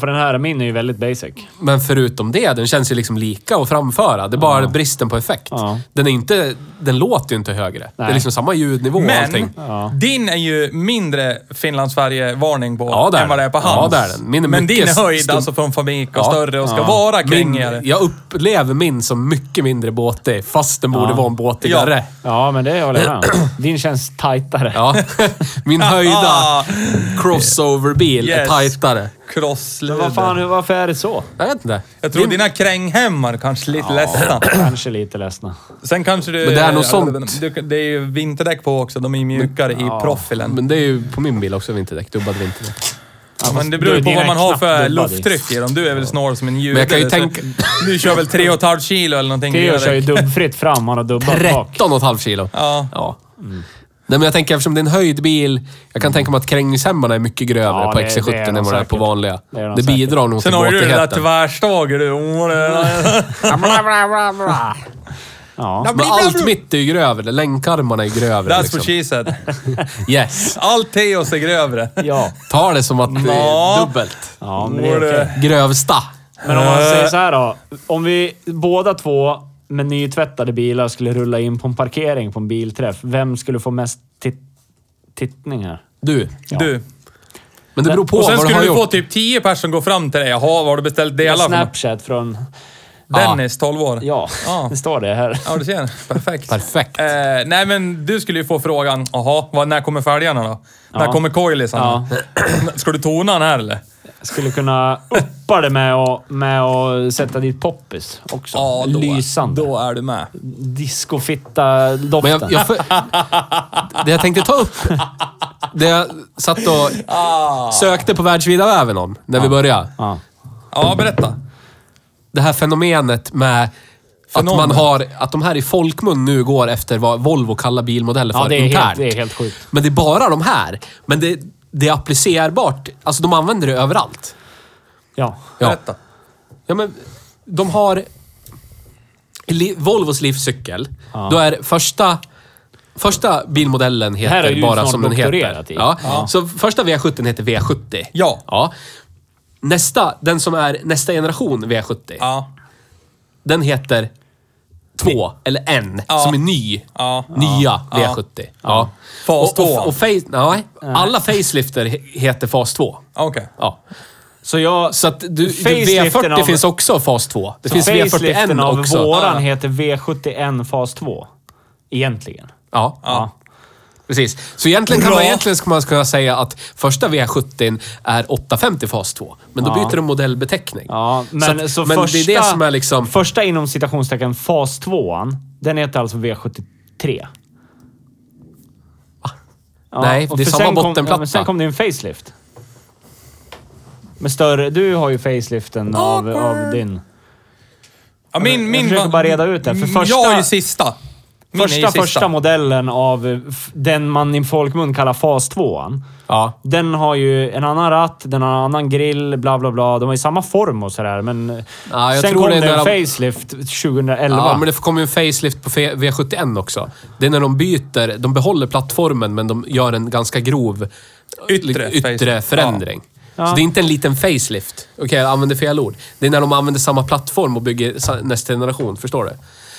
för den här min är ju väldigt basic. Men förutom det, den känns ju liksom lika att framföra. Det är bara bristen på effekt. Ja. Den, är inte, den låter ju inte högre. Det Nej. är liksom samma ljudnivå och Men allting. din är ju mindre Finland-Sverige-varning på Ja, det är än vad det är på den. hans. Ja, det är den. Min är Men din mycket är höjd stum- alltså från fabrik och Ja. större och ska Ja. vara Min, krängigare. jag upplever min som mycket mindre båtig, fast den borde vara en båtigare. Ja, men det håller jag med om. Din känns tajtare. Ja. Min höjda Ah, crossover-bil är Yes. tajtare. Crossleder. Men vad fan, hur- varför är det så? Jag vet inte. Jag tror dina kränghämmar kanske lite ledsna. Kanske lite ledsna. Sen kanske du... Men det är nog sånt. Du, det är ju vinterdäck på också. De är ju mjukare i profilen. Men det är ju på min bil också vinterdäck. Dubbad vinterdäck. Ja, men det då beror är ju på dina vad man har knappt för dubbade. lufttryck i dem. Du är väl snarare som en jude. Men jag kan ju så tänka- Du kör väl 3,5 kilo eller någonting. Theo kör ju Erik? dubbfritt fram, han har dubbat bak. 13,5 kilo. Ja. Ja. Nej, men jag tänker eftersom det är en höjdbil. Jag Mm. kan tänka mig att krängningshämmarna är mycket grövre Ja, på det- XC70 det är än de vad det är säkert. på vanliga. Det är de Det, säkert. bidrar nog till Sen har ju du det där båtigheten. tvärstager du. Åh, det Liksom. är- Ja. Men allt mitt är ju grövre. Länkarmarna är ju grövre. That's Liksom. what she said. Yes. Allt Theos är grövre. Ja. Ta det som att det Ja. är dubbelt. ja, men det är okej. Grövsta. Men om man säger så här då. Om vi båda två med nytvättade bilar skulle rulla in på en parkering på en bilträff. Vem skulle få mest tit- tittningar? Du. Du. Men det beror på Och sen vad du skulle har du få gjort. typ 10 personer som går fram till dig. Jaha, vad har du beställt delar från? Snapchat från... Dennis, 12 år. Ja, Ja. det står det här. Ja, du ser. Perfekt. Perfekt. Eh, nej, men du skulle ju få frågan, jaha, vad, när kommer fälgarna då? När Ja. kommer coilisarna? Ska du tona den här eller? Jag skulle kunna uppa det med att, med att sätta dit poppis också. Lysande. Då är du med. Discofitta-doften. Men jag, jag, för, det jag tänkte ta upp, det jag satt Ah. och sökte på världsvida väven om när vi började. Ja. Ja, berätta. Det här fenomenet med Fenomen. att man har, att de här i folkmun nu går efter vad Volvo kallar bilmodeller för Ja, det är, internt. helt, det är helt sjukt. Men det är bara de här. Men det, det är applicerbart. Alltså de använder det överallt. Ja. Ja, Berätta. ja men de har... i li- Volvos livscykel, Ja. då är första... Första bilmodellen här har heter du bara snart som den heter. doktorerat i. Ja. Så första V70 heter V70. Ja. ja. Nästa, den som är nästa generation V70, Ja. den heter två eller en Ja. som är ny. Ja. Nya V70. Ja. Fas och, och, två. och face, nej, alla facelifter he- heter fas 2. Okej. Ja. Så jag... Så att du, Faceliften V40 av- finns också fas 2. Det finns Faceliften V41 av också. våran Ja. heter V71 fas 2. Egentligen. Ja. Ja. Precis. Så egentligen, kan Bra. man, egentligen ska man kunna säga att första V70 är 850 fas 2. Men då Ja. byter de modellbeteckning. Ja, men så, att- men första, det är det som är liksom... Första inom citationstecken fas 2 den heter alltså V73. Ja, Nej, och det är för samma sen kom- bottenplatta. Ja, men sen kom det en facelift. Med större... Du har ju faceliften av, av din. Ja, min, min, Mm, Jag försöker bara reda ut det, för första- Jag är ju sista. Min är ju Första, sista. första modellen av eh, f- den man i folkmun kallar fas 2 Ja. Den har ju en annan ratt, den har en annan grill, bla bla bla. De har ju samma form och sådär, men... eh, Ja, jag sen tror kom det det är en när de- facelift 2011. Ah. Ja, men det kommer ju en facelift på fe- V71 också. Det är när de byter, de behåller plattformen men de gör en ganska grov Yttre yttre facelift. förändring. Ja. Så det är inte en liten facelift. Okej, jag använder fel ord. Det är när de använder samma plattform och bygger sa- nästa generation, förstår du?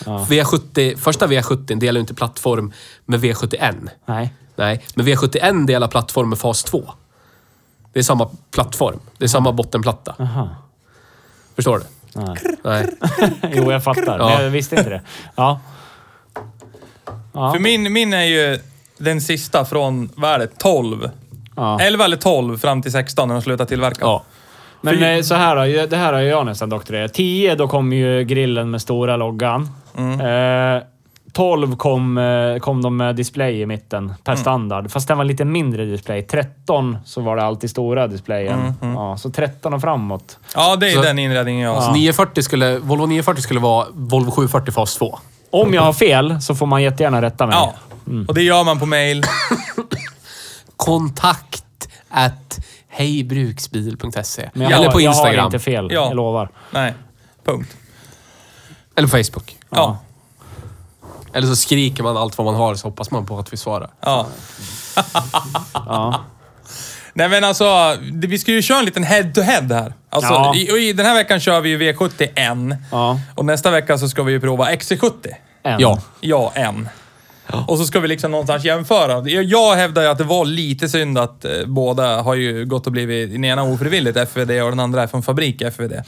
V70, första V70 delar ju inte plattform med V71. Nej. Nej, men V71 delar plattform med fas 2. Det är samma plattform. Det är samma bottenplatta. Aha. Förstår du? Nej. Nej. Jo, jag fattar. Ja. Men jag visste inte det. Ja. För min, min är ju den sista från, vad är det, 12? Ja. 11 eller 12 fram till 16 när de slutar tillverka. Ja. Men eh, så här då, det här har jag nästan doktorerat. 10, då kom ju grillen med stora loggan. Mm. Eh, 12 kom, eh, kom de med display i mitten per Mm. standard, fast den var lite mindre display. 13 så var det alltid stora displayen. Mm, Ja, så 13 och framåt. Ja, det är Så- den inredningen jag har. Så 940 skulle, Volvo 940 skulle vara Volvo 740 fas 2. Om jag har fel så får man jättegärna rätta mig. Ja, Mm. och det gör man på mail. Kontakt at hejbruksbil.se. Men jag, Eller har, på jag har Instagram. inte fel, Ja. jag lovar. Nej, punkt. Eller på Facebook. Ja, Eller så skriker man allt vad man har så hoppas man på att vi svarar. ja. Ja. Nej men alltså, det- vi ska ju köra en liten head-to-head här. Alltså, Ja. i, och i, den här veckan kör vi ju V70 en. Ja. Och nästa vecka så ska vi ju prova XC70. En. Ja. Ja, en. Och så ska vi liksom någonstans jämföra. Jag- Jag hävdar ju att det var lite synd att eh, båda har ju gått och blivit, den ena ofrivilligt FVD och den andra är från fabrik FVD.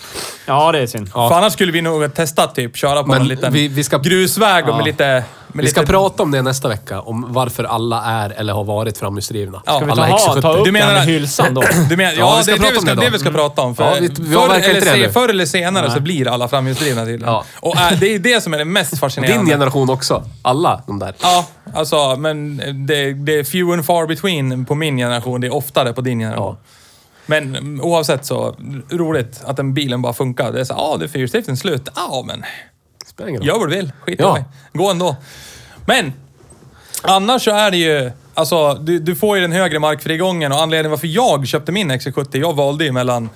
ja, det är synd. För annars skulle vi nog testa typ, köra på Men en liten vi- vi ska- grusväg och med lite... Med Vi ska lite, prata om det nästa vecka, om varför alla är eller har varit framhjulsdrivna. Ja. Ska vi ta- alla ha- ta upp- du menar det här med hylsan då? Du menar, ja, Ja, vi det ska är det prata vi om ska, det då. Mm. det vi ska prata om. För Ja, vi- vi förr, avverkar eller inte det se, nu. förr eller senare så blir alla framhjulsdrivna tydligen. Ja. Och äh, det är det som är det mest fascinerande. Din generation också. Alla de där. Ja, alltså, men det, det är few and far between på min generation. Det är oftare på din generation. Men mm, oavsett så, roligt att den bilen bara funkar. Det är så ja ah, det är fyrhjulsdriften slut. Ja, men Spelar ingen roll. gör vad du vill. Skit Ja. i mig. Gå ändå. Men, annars så är det ju... Alltså, du, du får ju den högre markfrigången och anledningen varför jag köpte min XC70, jag valde ju mellan,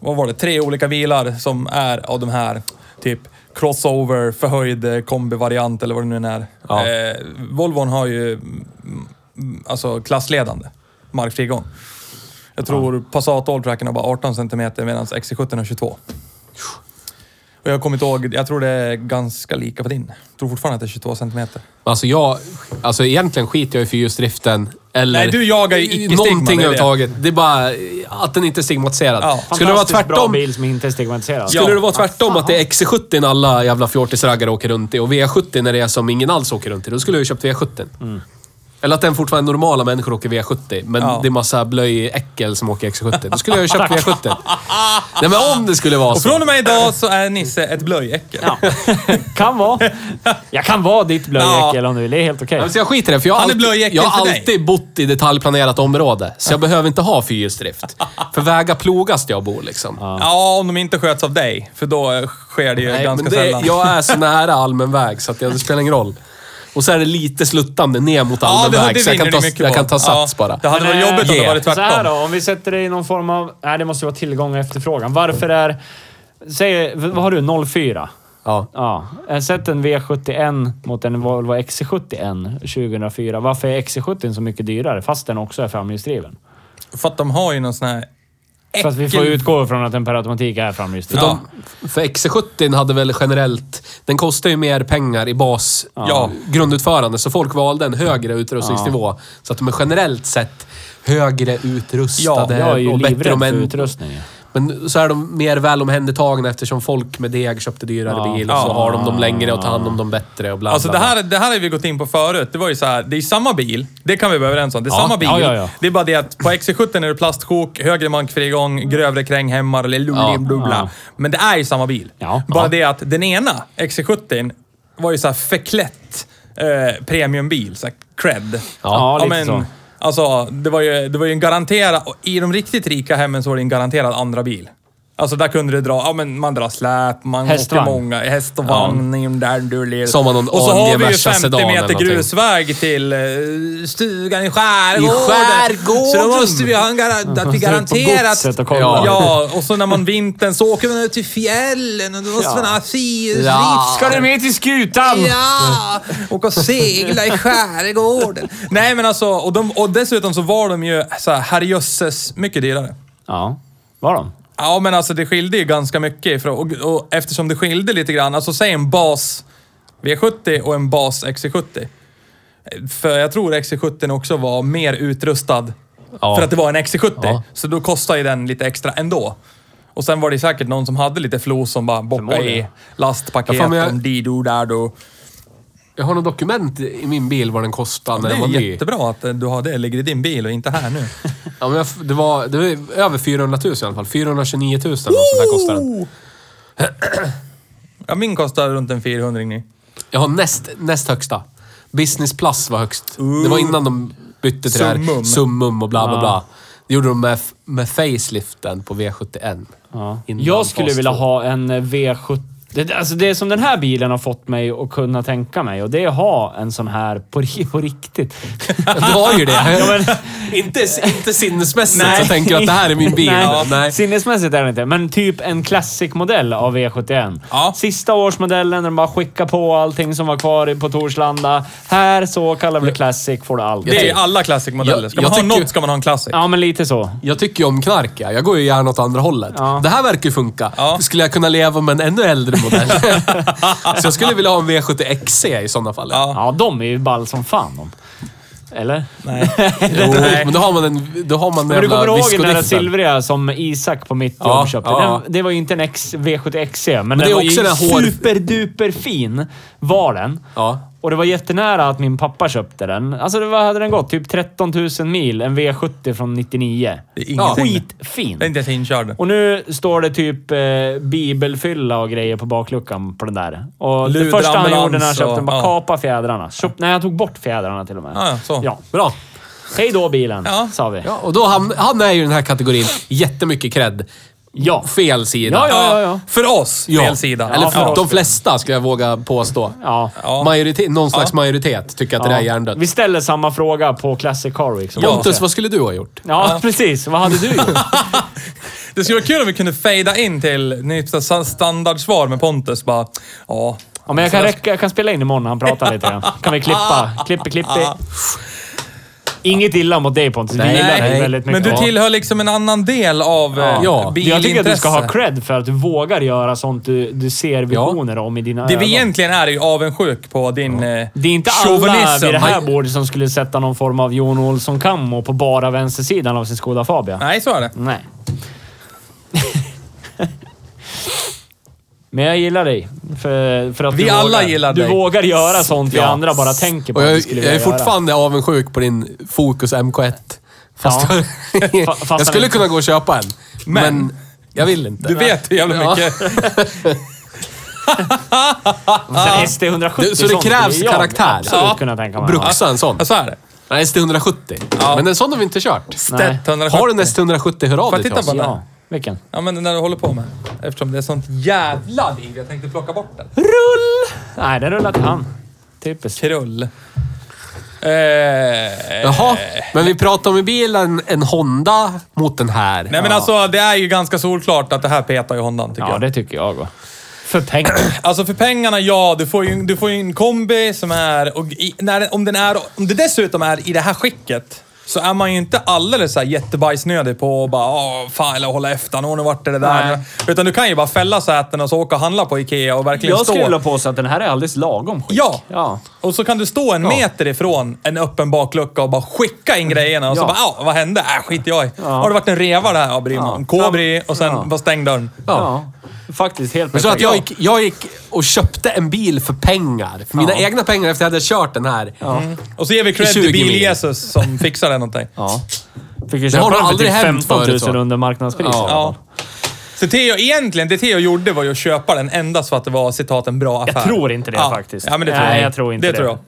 vad var det, tre olika bilar som är av de här, typ crossover, förhöjd eh, kombivariant eller vad det nu är. Ja. Eh, Volvon har ju mm, alltså klassledande markfrigång. Jag tror Passat Alltracken har bara 18 cm medan XC70 har 22. Och jag kommer inte ihåg, jag tror det är ganska lika på din. Jag tror fortfarande att det är 22 centimeter. Alltså jag... Alltså egentligen skiter jag i fyrhjulsdriften. Eller Nej, du jagar ju icke-stigma, det är Någonting det. överhuvudtaget. Det är bara att den inte är stigmatiserad. Ja. Skulle det vara Fantastiskt bra tvärtom... bil som inte är stigmatiserad. Ja. Skulle det vara tvärtom Ah, att det är XC70 alla jävla fjortisraggare åker runt i och V70 när det är som ingen alls åker runt i, då skulle jag ju köpt V70. Eller att den fortfarande normala människor åker V70, men Mm. Ja. det är massa blöjäckel som åker XC70. Då skulle jag ju köpt V70. Nej men om det skulle vara Och från så. och med idag så är Nisse ett blöjäckel. Ja. kan vara. Jag kan vara ditt blöjäckel om du vill. Det är helt okej. Alltså jag skiter i det, för jag har Han är alltid, blöjäckel jag har för dig. alltid bott i detaljplanerat område. Så jag behöver inte ha fyrhjulsdrift. För vägar plogas där jag bor liksom. Ja, om de inte sköts av dig. För då eh, sker det ju Nej, ganska men det, sällan. jag är så nära allmän väg så att det spelar ingen roll. Och så är det lite sluttande ner mot ja, allmän det, väg, det så jag kan, vinner ta, du mycket jag på. kan ta sats ja, bara. Det hade varit Men, eh, jobbigt om det yeah. varit Så här då, tvärtom. om vi sätter det i någon form av... Nej, det måste ju vara tillgång och efterfrågan. Varför är... Säg, vad har du? 04? Ja. Ja. Jag Sätt en V71 mot en Volvo XC71 2004. Varför är XC70 så mycket dyrare fast den också är framhjulsdriven? För att de har ju någon sån här... För att vi får Äckel- utgå från att den per automatik är framhjulsdriven. Ja. De, för XC70 hade väl generellt... Den kostar ju mer pengar i bas... Ja. Grundutförande, så folk valde en högre utrustningsnivå. Så att de är generellt sett högre utrustade Jag är ju och bättre livrädd för men, utrustningen. men så är de mer väl omhändertagna eftersom folk med deg köpte dyrare Ja. bil och så Ja. har de dem längre och tar hand om dem bättre och bla Alltså det bla, bla. här, det här har vi gått in på förut. Det var ju så här, det är samma bil. Det kan vi vara överens om. Det är Ja, samma bil. ja, ja, ja. Det är bara det att på XC70 är det plastsjok, högre mankfrigång, grövre kränghämmar eller Ja, lullimdubbla. ja. Men det är ju samma bil. Ja, bara ja. det att den ena, XC70, var ju så här förklätt eh, premiumbil. Så här cred. Ja, lite så. Alltså, det var ju, det var ju en garanterad... och I de riktigt rika hemmen så var det en garanterad andra bil. Alltså där kunde du dra, ja men man drar släp, man Hästvagn. åker många, häst och vagn, in där du ler. Som har någon Och så har AMG vi ju Merca 50 sedan eller meter någonting. grusväg till eh, stugan i skärgården. I skärgården! Så då måste vi ha en garan- att vi måste ut på garanterat... godset och kolla. ja. ja, och så när man vintern så åker man ut till fjällen och då måste Ja. man ha fyrhjulsdrift. Ja. Ska det med till skutan? Ja! Åka och segla i skärgården. Nej men alltså, och, de, och dessutom så var de ju så här, herrejösses mycket dyrare. Ja. Var de? Ja, men alltså det skilde ju ganska mycket. ifrån- och, och eftersom det skilde lite grann, alltså säg en bas V70 och en bas XC70. För jag tror XC70 också var mer utrustad Ja. för att det var en XC70. Ja. Så då kostade ju den lite extra ändå. Och sen var det säkert någon som hade lite flos som bara bockade i Förmodligen. lastpaket, Ja, fan, men jag- om dido, dado. Jag har något dokument i min bil vad den kostade när Det den var är ny. jättebra att eh, du har det, ligger i din bil och inte här nu. Ja, men jag, f- det, var, det var över 400 000 i alla fall. 429 000 eller något sånt där kostade den. Ja, min kostar runt en 400 nu. Jag har näst, näst högsta. Business plus var högst. Det var innan de bytte till det här Summum. summum och bla bla bla. Det gjorde de med, f- med faceliften på V71. Ja. Innan Jag skulle fas vilja två. ha en eh, V70 Det, alltså det som den här bilen har fått mig att kunna tänka mig och det är att ha en sån här på, ri- på riktigt. Du har ju det. Ja, men, inte, inte sinnesmässigt Nej. så tänker jag att det här är min bil. Nej. Nej. Sinnesmässigt är det inte, men typ en classic-modell av V71. Ja. Sista årsmodellen där de bara skickar på allting som var kvar i- på Torslanda. Här så kallar vi classic får du allt. Det är ju alla klassikmodeller. Ska Jag- man jag ha tycker- något ska man ha en classic. Ja, men lite så. Jag tycker ju om knark. ja. Jag går ju gärna åt andra hållet. Ja. Det här verkar ju funka. Ja. Skulle jag kunna leva med en ännu äldre modell? så jag skulle vilja ha en V70 XC i sådana fall. Ja. Ja, de är ju ball som fan de. Eller? Nej. Jo, Nej. Oh, men då har man en då har man Men du jävla kommer ihåg den där discodiften. silvriga som Isak på mitt jobb Ja, köpte? ja. Den, det var ju inte en X, V70XC, men, det den är var också ju den här hår- superduperfin. Var den. Ja. Och det var jättenära att min pappa köpte den. Alltså, det var, hade den gått? Typ 13 000 mil. En V70 från 99. Det är ingenting. Skitfin. Det är inte ens inkörd. Och nu står det typ eh, bibelfylla och grejer på bakluckan på den där. Och det Luder, första han ambulans gjorde när han köpte den och- var ja. kapa fjädrarna. Köp, nej, jag tog bort fjädrarna till och med. Ja, ja, så. Ja. Bra. Hej då bilen, Ja. sa vi. Ja, och då hamn, han är ju i den här kategorin. Jättemycket cred. Ja. Fel sida. Ja, ja, ja. ja. För oss, Ja. fel sida. Eller Ja, för för oss. de flesta skulle jag våga påstå. Ja. Ja. Majoritet, någon slags majoritet tycker att det där är hjärndött. Vi ställer samma fråga på Classic Car Week. som vanligt. Pontus, vad skulle du ha gjort? Ja, precis. Vad hade du gjort? Det skulle vara kul om vi kunde fejda in till nytt sta- standardsvar med Pontus. Bara, ja. Ja, men jag, kan räcka, jag kan spela in imorgon när han pratar lite grann. Kan vi klippa? Klippi, klippi. Ah. Inget illa mot dig Pontus. Vi Nej, gillar dig nej. väldigt Men mycket. du tillhör liksom en annan del av ja. Ja. Jag bilintresse. tycker att du ska ha cred för att du vågar göra sånt du, du ser visioner om i dina Det ögon. vi egentligen är är ju avundsjuk på din eh, Det är inte alla chauvinism. vid det här Nej, bordet som skulle sätta någon form av Jon Olsson kammo på bara vänstersidan av sin Skoda Fabia. Nej, så är det. Nej. Men jag gillar dig. För, för att Vi du alla vågar, gillar du dig. vågar göra sånt vi Ja. andra bara tänker på Och att jag, vi skulle jag är vilja göra. fortfarande avundsjuk på din Focus MK1. Fast Ja. jag, Fa- fast jag skulle han- kunna gå och köpa en. Men, Men- jag vill inte. Du vet hur jävla Ja. mycket... Sen ST170 Det- så det sånt skulle krärs jag karaktär. Absolut Ja. kunna tänka mig. Bruxa en sån. Ja, så är det. Nej, ST170. Ja. Men en sån har vi inte kört. Nej. Stett 170. Har du en ST170, hör Får av dig jag till titta oss. på den? Ja, vilken? Ja, men den där du håller på med. Eftersom det är sånt jävla liv. Jag tänkte plocka bort den. Rull! Nej, den rullar till han. Typ Typiskt. Krull. Eh, Jaha, men vi pratar om i bilen en Honda mot den här. Nej men alltså, det är ju ganska solklart att det här petar ju Hondan, tycker Ja, jag. det tycker jag också. För pengar. Alltså för pengarna, ja. Du får ju, du får ju en kombi som är... Och i, när, den- om, den är om det dessutom är i det här skicket så är man ju inte alldeles så här jättebajsnödig på att bara Åh, fan, eller hålla efter. Nu har det varit det där. Nej. Utan du kan ju bara fälla sätena och så åka och handla på Ikea och verkligen stå. Jag skulle vilja påstå att den här är alldeles lagom skick. Ja. ja. Och så kan du stå en meter ifrån en öppen baklucka och bara skicka in grejerna och så Ja. bara, "Au, vad hände? Äh, skit jag i. Har det varit en reva där? Ja, bryr mig om. Kobri och sen Ja. bara stäng dörren. Ja. Faktiskt helt Men så att perfekt. jag gick, jag gick och köpte en bil för pengar. För mina Ja. egna pengar efter att jag hade kört den här. Och så ger vi cred 20 till mil. Bil-Jesus som fixade någonting. Ja. Fick ju Det har nog köpa den för aldrig typ hänt 15 000 förut, så. under marknadspriset. Ja. Ja. Så Theo, egentligen, det Theo gjorde var ju att köpa den endast för att det var citat en bra affär. Jag tror inte det ja. faktiskt. Ja, men det tror Nej, jag. jag tror inte det. det. tror jag.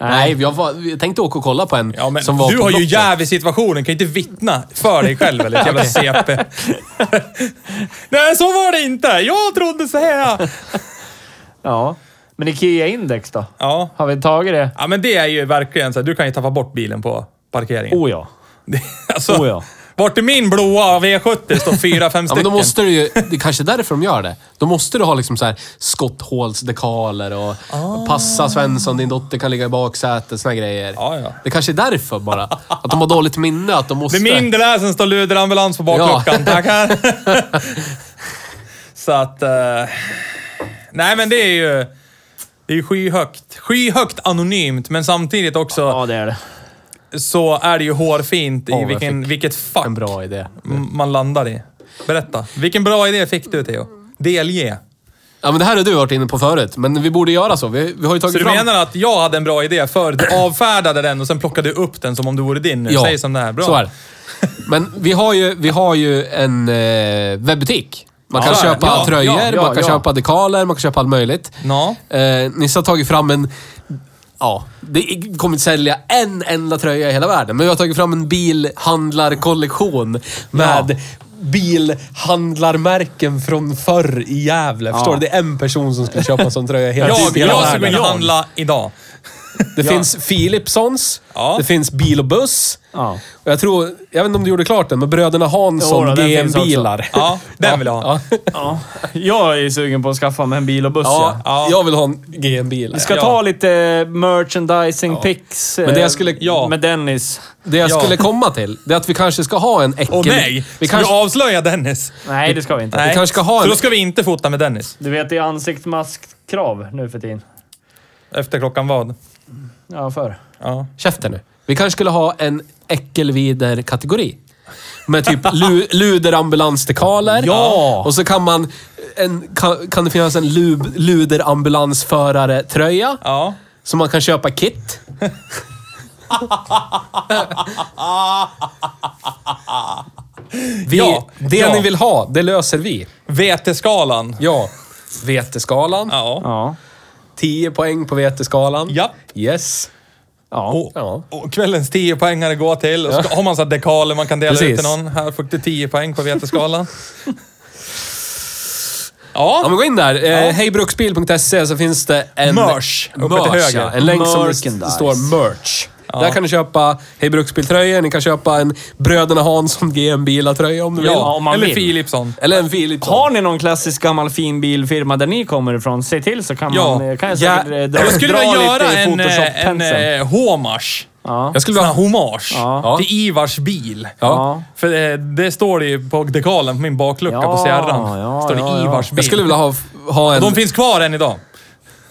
Nej, jag, var, jag tänkte åka och kolla på en Ja, men som var du på har ju Blocket. jävesituationen, kan ju inte vittna för dig själv eller ett jävla CP. Nej, så var det inte. Jag trodde så här. Ja. Men Ikea Index då? Ja. Har vi tagit det? Ja, men det är ju verkligen så här, du kan ju tappa bort bilen på parkeringen. Oh ja. Det- alltså, Oh, ja. Vart är min blåa V70? står fyra, fem Ja, stycken. men då måste du ju, det är kanske är därför de gör det. Då måste du ha liksom så här skotthålsdekaler och Ah. passa Svensson, din dotter kan ligga i baksätet, såna här grejer. Ja, ja. Det kanske är därför bara. Att de har dåligt minne, att de måste... Det är min det där, sen står Luder ambulans på bakluckan. Tackar. så att... eh, nej, men det är ju... Det är ju skyhögt. Skyhögt anonymt, men samtidigt också Ja, det är det. så är det ju hårfint Åh, i jag vilken, vilket fack En bra idé. m- man landar i. Berätta. Vilken bra idé fick du, Theo? Delge. Ja, men det här har du varit inne på förut, men vi borde göra så. Vi, vi har ju tagit Så du fram... menar att jag hade en bra idé förut, du avfärdade den och sen plockade du upp den som om det vore din nu? Säg som det är. Bra. Så är det. Men vi har ju, vi har ju en eh, webbutik. Man Ja, kan så är det. köpa Ja, tröjor, ja, ja, man kan ja. köpa dekaler, man kan köpa allt möjligt. Ja. Eh, Nisse har tagit fram en... Ja, det kommer inte sälja en enda tröja i hela världen, men vi har tagit fram en bilhandlarkollektion med bilhandlarmärken från förr i Gävle. Förstår du? Det är en person som skulle köpa en sån tröja hela Jag, hela jag ska gå världen. in och handla idag. Det finns Philipssons, Ja. det finns Bil och Buss. Ja. Och jag tror, jag vet inte om du gjorde klart den, men bröderna Hansson, Jo då, den finns också. GM-bilar. Ja, den vill jag ha. Ja. Ja. Jag är ju sugen på att skaffa mig en bil och buss. Ja, Ja. Ja. jag vill ha en GM-bil. Vi ska Ja. ta lite merchandising pics Men det eh, jag skulle- Ja. med Dennis. Det jag Ja. skulle komma till, det är att vi kanske ska ha en äckel... Åh nej! Vi Vi kanske, Du avslöjar Dennis. Nej, det ska vi inte. Nej. kanske ska ha Så en- då ska vi inte fota med Dennis. Du vet, det är ansiktsmaskkrav nu för tiden. Efter klockan vad? Ja, förr. Ja. Käften nu. Vi kanske skulle ha en äckelvider-kategori. Med typ lu, luderambulansdekaler. Ja! Och så kan man... En, kan, kan det finnas en lub, luderambulansförare-tröja. Ja. Som man kan köpa kit. vi, Ja, det ja. ni vill ha, det löser vi. VT-skalan. Ja. Veteskalan. Ja. Ja. 10 poäng på veteskalan. Ja. Yes. Ja. Och, Ja. och kvällens 10 poängare går till. Och så har man så här dekaler man kan dela ut Precis. till någon. Här fick du 10 poäng på veteskalan. Ja, Ja. men gå in där. Eh, Hejbruksbil.se så finns det en... Merch, uppe till Merch, höger. Ja. En länk som det Merchandise. står merch. Där kan du köpa Hej Bruksbil-tröjor, ni kan köpa en Bröderna Hansson GM-bilar-tröja om du ja. om man Eller vill. Philipsson. vill. Eller en Philipsson. Har ni någon klassisk gammal fin bilfirma där ni kommer ifrån, säg till så kan, Ja. man, eh, kan jag Ja. säkert eh, dra, Jag skulle dra vilja göra lite i en, eh, en Photoshop-penseln. eh, hommage. Ja. Jag skulle vilja ha hommage Ja. till Ivars bil. Ja. För det, det står det ju på dekalen på min baklucka Ja, på Sierran. ja, står det ja, ja. Ivars bil. Jag skulle vilja ha, ha en... De finns kvar än idag.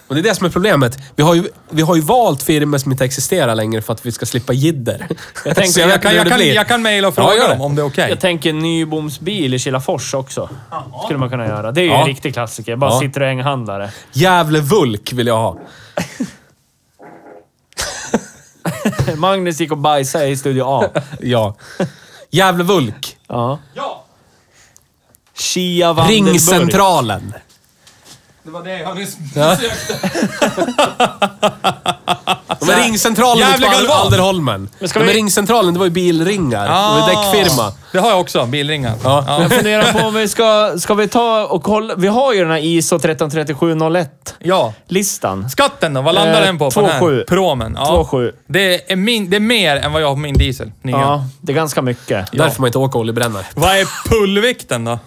Och det är det som är problemet. Vi har ju, vi har ju valt firmor som inte existerar längre för att vi ska slippa jidder. Jag tänker- Jag kan, jag kan, jag kan mejla och Ja, fråga gör det. dem om det är okej. Jag tänker Nyboms bil i Kilafors också. Skulle man kunna göra. Det är ju Ja. en riktig klassiker. Bara Ja. Citroën-handlare. Gävle Vulk vill jag ha. Magnus gick och bajsade i Studio A. Ja. Gävle Vulk. Ja. Ja, Shia Vandenburg. Ringcentralen. det var det jag nyss Ja. sökte. De är ringcentralen Alltså, Gävle ute på Galvan. Alderholmen. Men ska De är vi- ringcentralen, det var ju bilringar. Det var ju Ah. däckfirma. Det har jag också, bilringar. Ja. Ja. Jag funderar på om vi ska... Ska vi ta och kolla? Vi har ju den här ISO 133701-listan. Ja. Skatten då? Vad landar Eh, den på? på 2,7. den här? Promen? Ja. 2,7. Det, är min, det är mer än vad jag har på min diesel. Nya. Ja, det är ganska mycket. Där får man inte åka oljebrännare. Vad är pullvikten då?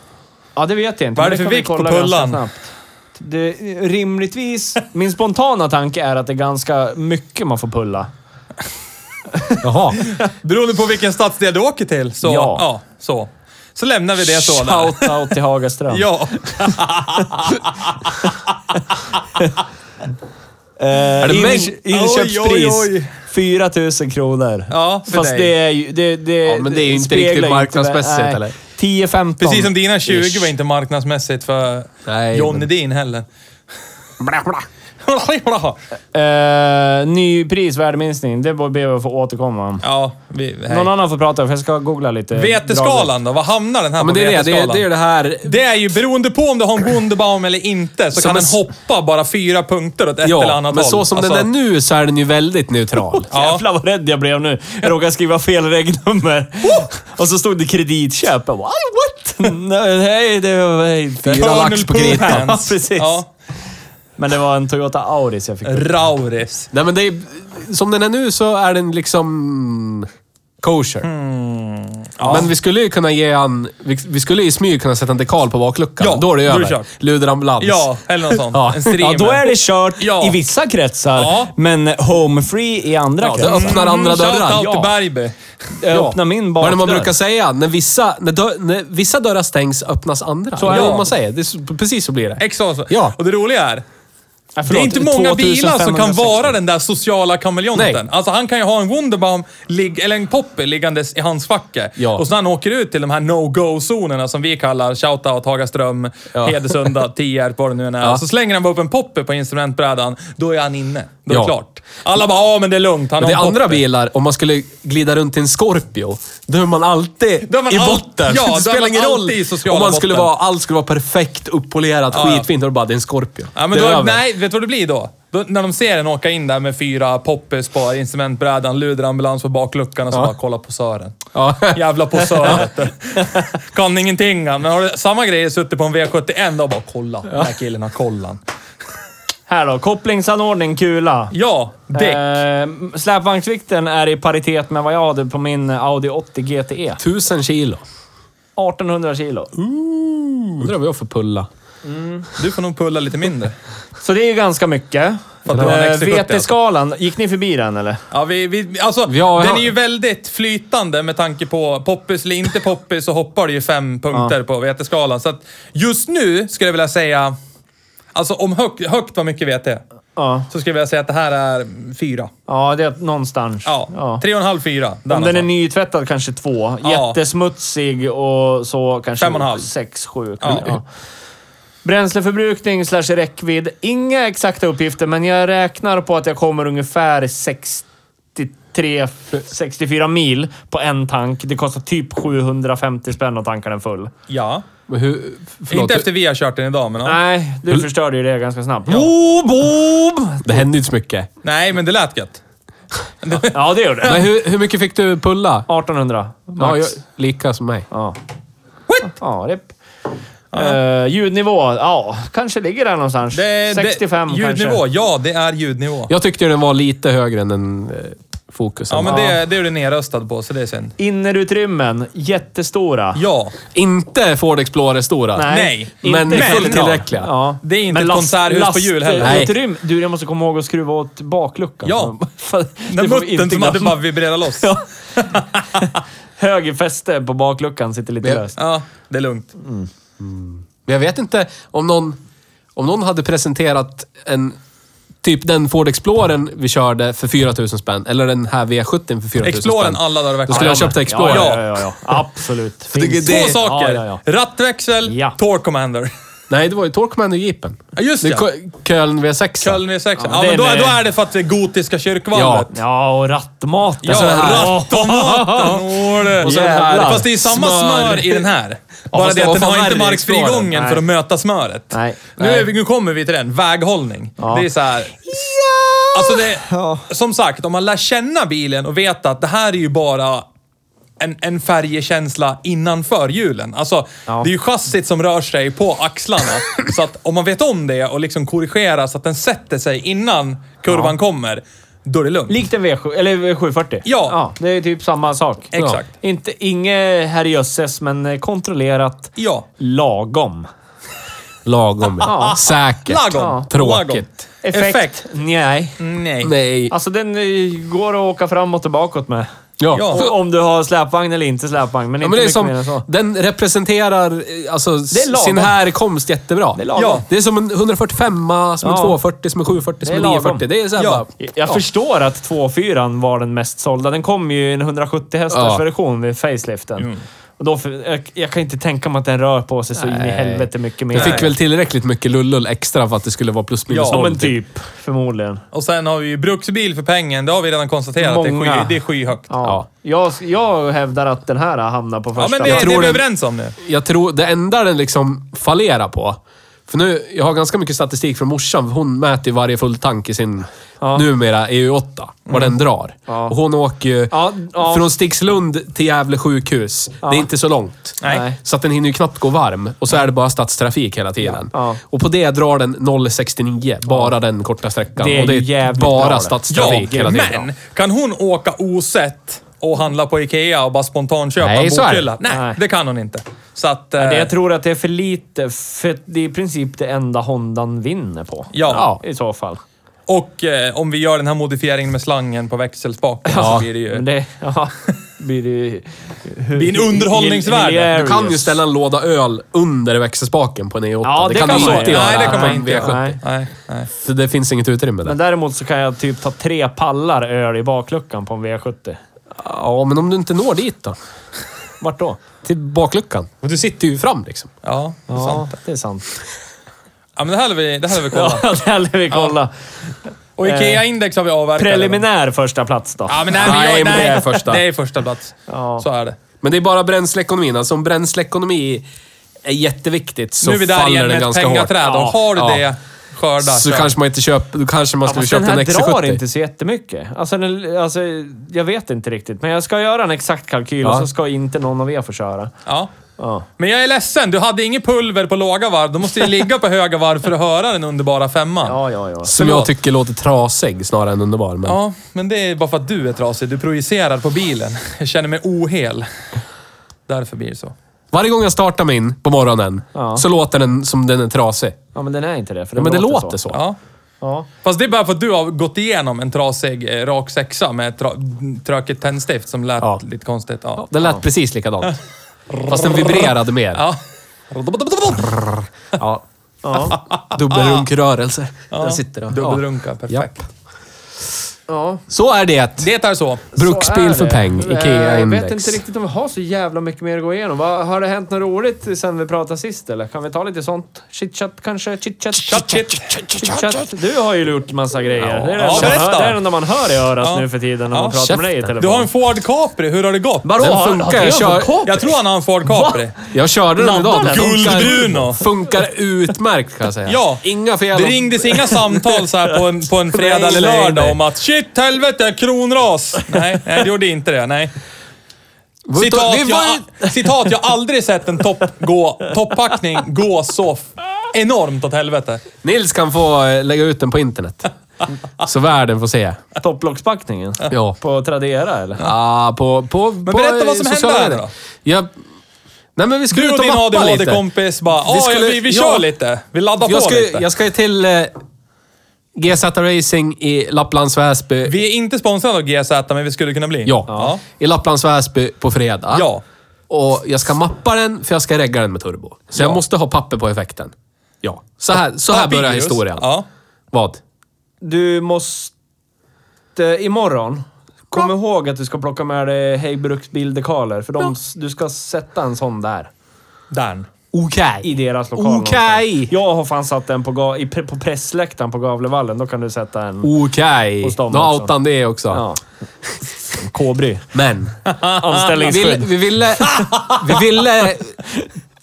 Ja, det vet jag inte. Vad är det men för kan vi vikt på kolla ganska pullan? snabbt. Det, rimligtvis... Min spontana tanke är att det är ganska mycket man får pulla. Jaha. Beroende på vilken stadsdel du åker till. Så, Ja. ja. så. så lämnar vi det så. Där. Shoutout till Hagaström. Ja. Är det Inköp- mängd? Eh, Inköpspris. Oj, oj, oj. 4 000 kronor. Ja, för Fast dig. det är ju... Det, det, Ja, men det är ju inte speglar riktigt ju marknadsmässigt, nej. eller? 10-15. Precis som dina 20 Ish. var inte marknadsmässigt för Nej, John men- Edin heller. Bla, bla. Uh, nypris, värdeminskning. Det ber jag få återkomma om. ja, vi, hej. Någon annan får prata, för jag ska googla lite. Veteskalan då? Vad hamnar den här Ja, på men det är det. Det är veteskalan? det, är det här... Det är ju beroende på om du har en Wunderbaum eller inte, så Som kan den en s- hoppa bara fyra punkter åt ett eller Ja, annat men håll. Alltså, så som den är nu så är den ju väldigt neutral. Ja. Jävlar vad rädd jag blev nu. Jag råkade skriva fel regnummer. Och så stod det kreditköp. Jag bara, what? Nej, det var helt Fyra Colonel lax på Pooh kritan. Hands. Ja, precis. Ja. Men det var en Toyota Auris jag fick. Rauris. Nej, men det är, som den är nu så är den liksom kosher. Hmm. Men vi skulle ju kunna ge han... Vi, vi skulle i smyg kunna sätta en dekal på bakluckan. Ja, då är det då är det över. kört. Luderambulans. Ja, eller något sånt. Ja. En streamer. Ja, då är det kört Ja. i vissa kretsar, Ja. men home free i andra Ja, det kretsar. Äh, öppnar andra dörrar. Shoutout Ja. Mm. till Bergby. Jag Ja. öppnar min Vad är det bakdörr. man brukar säga? När vissa, när, dör, när vissa dörrar stängs öppnas andra. Så är är det det. vad man säger. Det är, så- precis så blir det. Exakt så. Ja. Och det roliga är, Ja, förlåt, det är inte många bilar som kan 2560. vara den där sociala kameleonten. Nej. Alltså han kan ju ha en Wunderbaum, ligg- eller en Poppy, liggandes i hans facke. Ja. Och så när han åker ut till de här no-go-zonerna som vi kallar Shoutout, Hagaström, Ja. Hedesunda, Tierp, vad det nu än är. Ja. Så slänger han bara upp en Poppy på instrumentbrädan, då är han inne. Då är Ja. det klart. Alla bara, ja men det är lugnt, han har Men det en är andra Poppy." bilar, om man skulle glida runt i en Scorpio, då är man alltid Då är man i all- botten. Ja, då är det spelar man ingen roll alltid i sociala om man skulle botten. vara, allt skulle vara perfekt uppolerat, ja. skitfint, och bara det är en Scorpio. Ja, men det är då, över. nej, vet du vad det blir då? Då, när de ser en åka in där med fyra poppis på instrumentbrädan, luderambulans på bakluckan och så bara kolla på Sören. Ja. Jävla posör vet du. Kan ingenting han. Men har du samma grej suttit på en V71 och bara kolla. Den här killen har kollan. Här då. Kopplingsanordning, kula. Ja, däck. Eh, släpvagnsvikten är i paritet med vad jag hade på min Audi 80 GTE. Tusen kilo. 1800 E. kilo. Undrar vad jag får pulla. Du får nog pulla lite mindre. Så det är ju ganska mycket. För att det var en Eh, XC70 alltså. VT-skalan, gick ni förbi den eller? Ja, vi, vi, alltså, Ja, den ja. är ju väldigt flytande med tanke på poppis eller inte poppis så hoppar det ju fem punkter på veteskalan. Så att just nu skulle jag vilja säga, alltså om högt, högt var mycket vete, Ja. så skulle jag vilja säga att det här är fyra. Ja, det är någonstans. Ja, Ja. tre och en halv, fyra. Om den är nytvättad kanske två. Ja. Jättesmutsig och så kanske Fem och en halv. sex, sju. typ. Ja. Ja. Bränsleförbrukning slash räckvidd. Inga exakta uppgifter, men jag räknar på att jag kommer ungefär 63, 64 mil på en tank. Det kostar typ 750 spänn att tanka den full. Ja. Men hur... Förlåt. Inte efter vi har kört den idag, men ja. Nej, du förstörde ju det ganska snabbt. Ja, Boom, boom! Det hände inte så mycket. Nej, men det lät gött. ja det gjorde det. Men hur, hur mycket fick du pulla? 1800 Ja, max. jag, lika som mig. Ja. What? Ja, det... Eh, ljudnivå, ja, kanske ligger där någonstans. Det, 65 det, kanske. ljudnivå, ja det är ljudnivå. Jag tyckte den var lite högre än en eh, Focus. Ja, men det, det är du nerröstad på, så det är synd. Innerutrymmen, jättestora. Ja. Inte Ford Explorer-stora. nej. Men Inte- fullt tillräckliga. Ja. Det är inte ett konserthus på jul heller. Nej. Lastutrymme. Du, jag måste komma ihåg att skruva åt bakluckan. Ja. Fan, Den det får vi muttern inte som hade glömma. bara vibrerat loss. Ja. Höger fäste på bakluckan sitter lite Ja. löst. Ja, det är lugnt. Men jag vet inte om någon, om någon hade presenterat en... Typ den Ford Explorern vi körde för 4000 spänn. Eller den här V70 för 4000 Exploren spänn. alla dagar i Då veckan. skulle jag Ja, köpt Explorer. Ja, ja, ja, ja. Absolut. det- Finns. det- Två saker. Ja, ja, Rattväxel, Ja. Torque Commander. Nej, det var ju Torkman och Jeepen. Ja, just Det är ja. Kö- Köln V6. Köln är sexa. Ja, den men då, är- då är det för att det är gotiska kyrkvandret. Ja. Ja, och Alltså, rattmaten. Ja, den här- rattomaten. Åh, det- Och så den Jävlar. här. Fast det är ju samma smör i den här. Bara fast det det att var den fan har inte värre i marksfrigången Explorer. för Nej. att möta smöret. Nej. Nu, är vi, nu kommer vi till den. Väghållning. Det är så här... Alltså det, Som sagt, om man lär känna bilen och vet att det här är ju bara en, en färjekänsla innanför hjulen. Alltså, det är ju chassit som rör sig på axlarna. så att om man vet om det och liksom korrigerar så att den sätter sig innan kurvan kommer, då är det lugnt. Likt en V7, eller V740. Ja. Det är typ samma sak. Exakt. Ja. Inte, inget herrejösses, men eh, kontrollerat. Ja. Lagom. Lagom. Ja. Säkert. Lagom. Tråkigt. Lagom. Effekt? Effekt. Mm. Nej. Nej. Nej. Alltså den eh, går att åka framåt och bakåt med. Ja. Ja. Och, om du har släpvagn eller inte släpvagn, men Ja, inte men det är mycket mer än som, så. den representerar eh, alltså, är lagom. sin härkomst jättebra. Det är lagom. Ja. det är som en 145 som en Ja. 240 som en 740 som Det är en lagom. 940. Det är så här Ja. bara, Jag förstår att 2.4 var den mest sålda. Den kom ju i en 170 hästars Ja. version vid faceliften. Och då, för- jag, jag kan inte tänka mig att den rör på sig så in i Nej. helvete mycket mer. Jag fick väl tillräckligt mycket lullull extra för att det skulle vara plus minus Ja, Ja, noll. men typ. Förmodligen. Och sen har vi ju bruksbil för pengen. Det har vi redan konstaterat. Det är, Många. sky, det är skyhögt. Ja, Ja. Jag, jag hävdar att den här hamnar på första men det, det tror är vi den- överens om nu. Jag tror det enda den liksom fallerar på. För nu, jag har ganska mycket statistik från morsan. för Hon mäter ju varje full tank i sin numera E EU8. Vad den drar. Och hon åker ju Mm. Ja, ja. från Stixlund till Gävle sjukhus. Det är inte så långt. Nej. Nej. Så att den hinner ju knappt gå varm. Och så är det bara stadstrafik hela tiden. Ja. Och på det drar den 0,69. Bara den korta sträckan. Det är och det ju jävligt bara bra det. Ja, stadstrafik hela tiden. men kan hon åka osett och handla på Ikea och bara spontanköpa Nej, en så är det. bokhylla? Nej, Nej. det kan hon inte. Så att... eh, Det jag tror att det är för lite, för det är i princip det enda Hondan vinner på. Ja. I så fall. Och eh, om vi gör den här modifieringen med slangen på växelspaken så blir det ju... Men det, ja, blir det ju... Det blir en underhållningsvärld. Du kan ju ställa en låda öl under växelspaken på en E8. Ja, det kan kan du man inte göra. göra. Nej, det kan man på en inte V70. göra. Nej. Nej, nej. Så det finns inget utrymme där. Men däremot så kan jag typ ta tre pallar öl i bakluckan på en V70. Ja, men om du inte når dit då? Vart då? Till bakluckan. Och du sitter ju fram liksom. Ja, det är Ja, sant. det är sant. Ja, men det här har vi, det här har vi kollat. Ja, det här lär vi kolla. Och Ikea-index har vi avverkat. Preliminär första plats då. Ja, men nej, men Nej, jag, men nej. det är första. Det är första plats. Ja. Så är det. Men det är bara bränsleekonomin. Alltså om bränsleekonomi är jätteviktigt så nu är vi där faller igen det med ett ganska hårt. pengaträd. Och har du ja. det, Skörda. så kör. kanske man inte köper... Då kanske man skulle Fast Alltså, den köpa en här drar XC70. inte så jättemycket. Alltså, den, alltså, jag vet inte riktigt, men jag ska göra en exakt kalkyl och Ja. så ska inte någon av er få köra. Ja. Ja. Men jag är ledsen, du hade inget pulver på låga varv. Du måste ju ligga på höga varv för att höra den underbara femman. Ja. Ja, ja, ja. Som Förlåt. jag tycker låter trasig snarare än underbar. Men... men det är bara för att du är trasig. Du projicerar på bilen. Jag känner mig ohel. Därför blir det så. Varje gång jag startar min på morgonen Ja. så låter den som den är trasig. Ja, men den är inte det. För Ja, den men det låter så. Ja. Ja. Fast det är bara för att du har gått igenom en trasig eh, rak sexa med ett tra- trökigt tändstift som lät Ja. lite konstigt. Ja. Den lät precis likadant. Fast den vibrerade mer. Ja. ja. Ja. Ja. Dubbelrunkrörelse. Den sitter och... Dubbelrunka, perfekt. ja. Så är det. Det är så. Bruksbil för peng. Eh, Jag vet IKEA-index. inte riktigt om vi har så jävla mycket mer att gå igenom. Vad- Har det hänt något roligt sen vi pratade sist eller? Kan vi ta lite sånt? Chitchat kanske? Chitchat? Chat, shit. Chitchat? Du har ju gjort massa grejer. Det är det Ja, enda man berätta. hör- det är det enda man hör i örat Ja. nu för tiden när Ja, man pratar med dig i käften. telefon. Du har en Ford Capri, hur har det gått? Vadå? Den funkar. Jag, kör, Jag tror han har en Ford Capri. jag körde den Laddar idag. den? Funkar- Guldbruno. Funkar utmärkt kan jag säga. Ja. Inga fel. Det ringdes inga samtal så här på en, på en fredag eller Nej, nej, lördag nej. om att shit helvete, kronras. Nej, nej det gjorde inte det. Nej. Var ute och- Citat, vi var jag, citat, jag har aldrig sett en topp gå, toppackning gå så f- enormt åt helvete. Nils kan få eh, lägga ut den på internet. Så världen får se. Topplockspackningen? Ja. På Tradera eller? Ah, på, på, men på berätta vad som eh, sociala hände här medier. då. Jag, nej men vi skulle Du och ut och din mappa lite. ADHD-kompis bara, Vi "Ja, skulle- vi, vi ja. kör lite. Vi laddar Jag på ska, lite. jag ska ju till eh, GZ Racing i Lapplands Väsby. Vi är inte sponsrade av GZ, men vi skulle kunna bli. ja. ja. I Lapplands Väsby på fredag. Ja. Och jag ska mappa den, för jag ska regga den med turbo. Så jag måste ha papper på effekten. Ja. Så här, så här börjar Papyrus. historien. Ja. Vad? Du måste... Imorgon. Kom ihåg att du ska plocka med dig Hej Bruksbildekaler, för de, du ska sätta en sån där. Därn. Okej. I deras lokal. Okej! någonstans. Jag har fan satt den på, ga- i, pre- på pressläktaren på Gavlevallen. Då kan du sätta en Okej. Hos dem Då också. outade han det också. ja. kobry. Men. Vi ville, Anställningsskydd. vi, ville, vi ville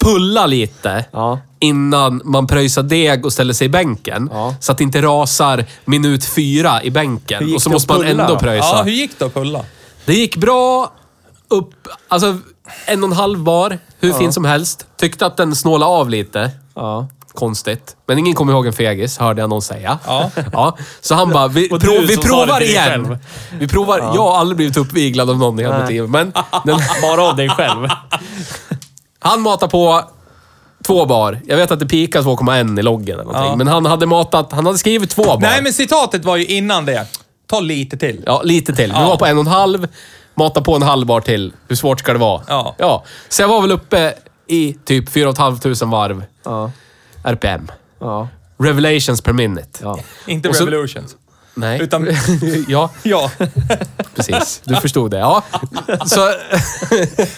pulla lite Ja. innan man pröjsar deg och ställer sig i bänken. Ja. Så att det inte rasar minut fyra i Hur bänken. gick Och så det måste att man pulla ändå då? Ja, pröjsa. hur gick det att pulla? Det gick bra upp... Alltså, en och en halv bar. Hur fin som helst. Tyckte att den snålade av lite. Ja. Konstigt. Men ingen kommer ihåg en fegis, hörde jag någon säga. Ja. Så han bara, vi, Och du prov, vi som sa det provar till dig igen. själv. Vi provar. Jag har aldrig blivit uppviglad av någon i hela mitt Nej. liv. Men den, Bara av dig själv. han matar på två bar. Jag vet att det pikar 2,1 i loggen eller någonting. Ja. Men han hade matat, han hade skrivit två bar. Nej, men citatet var ju innan det. Ta lite till. Ja, lite till. Vi Ja. var på en och en halv. Mata på en halv bar till. Hur svårt ska det vara? Ja. Så jag var väl uppe i typ 4 500 varv Ja. RPM. Ja. Revelations per minute. Ja. Inte Och så- revolutions. Nej. Utan- ja, Ja, precis. Du förstod det. Ja. Så...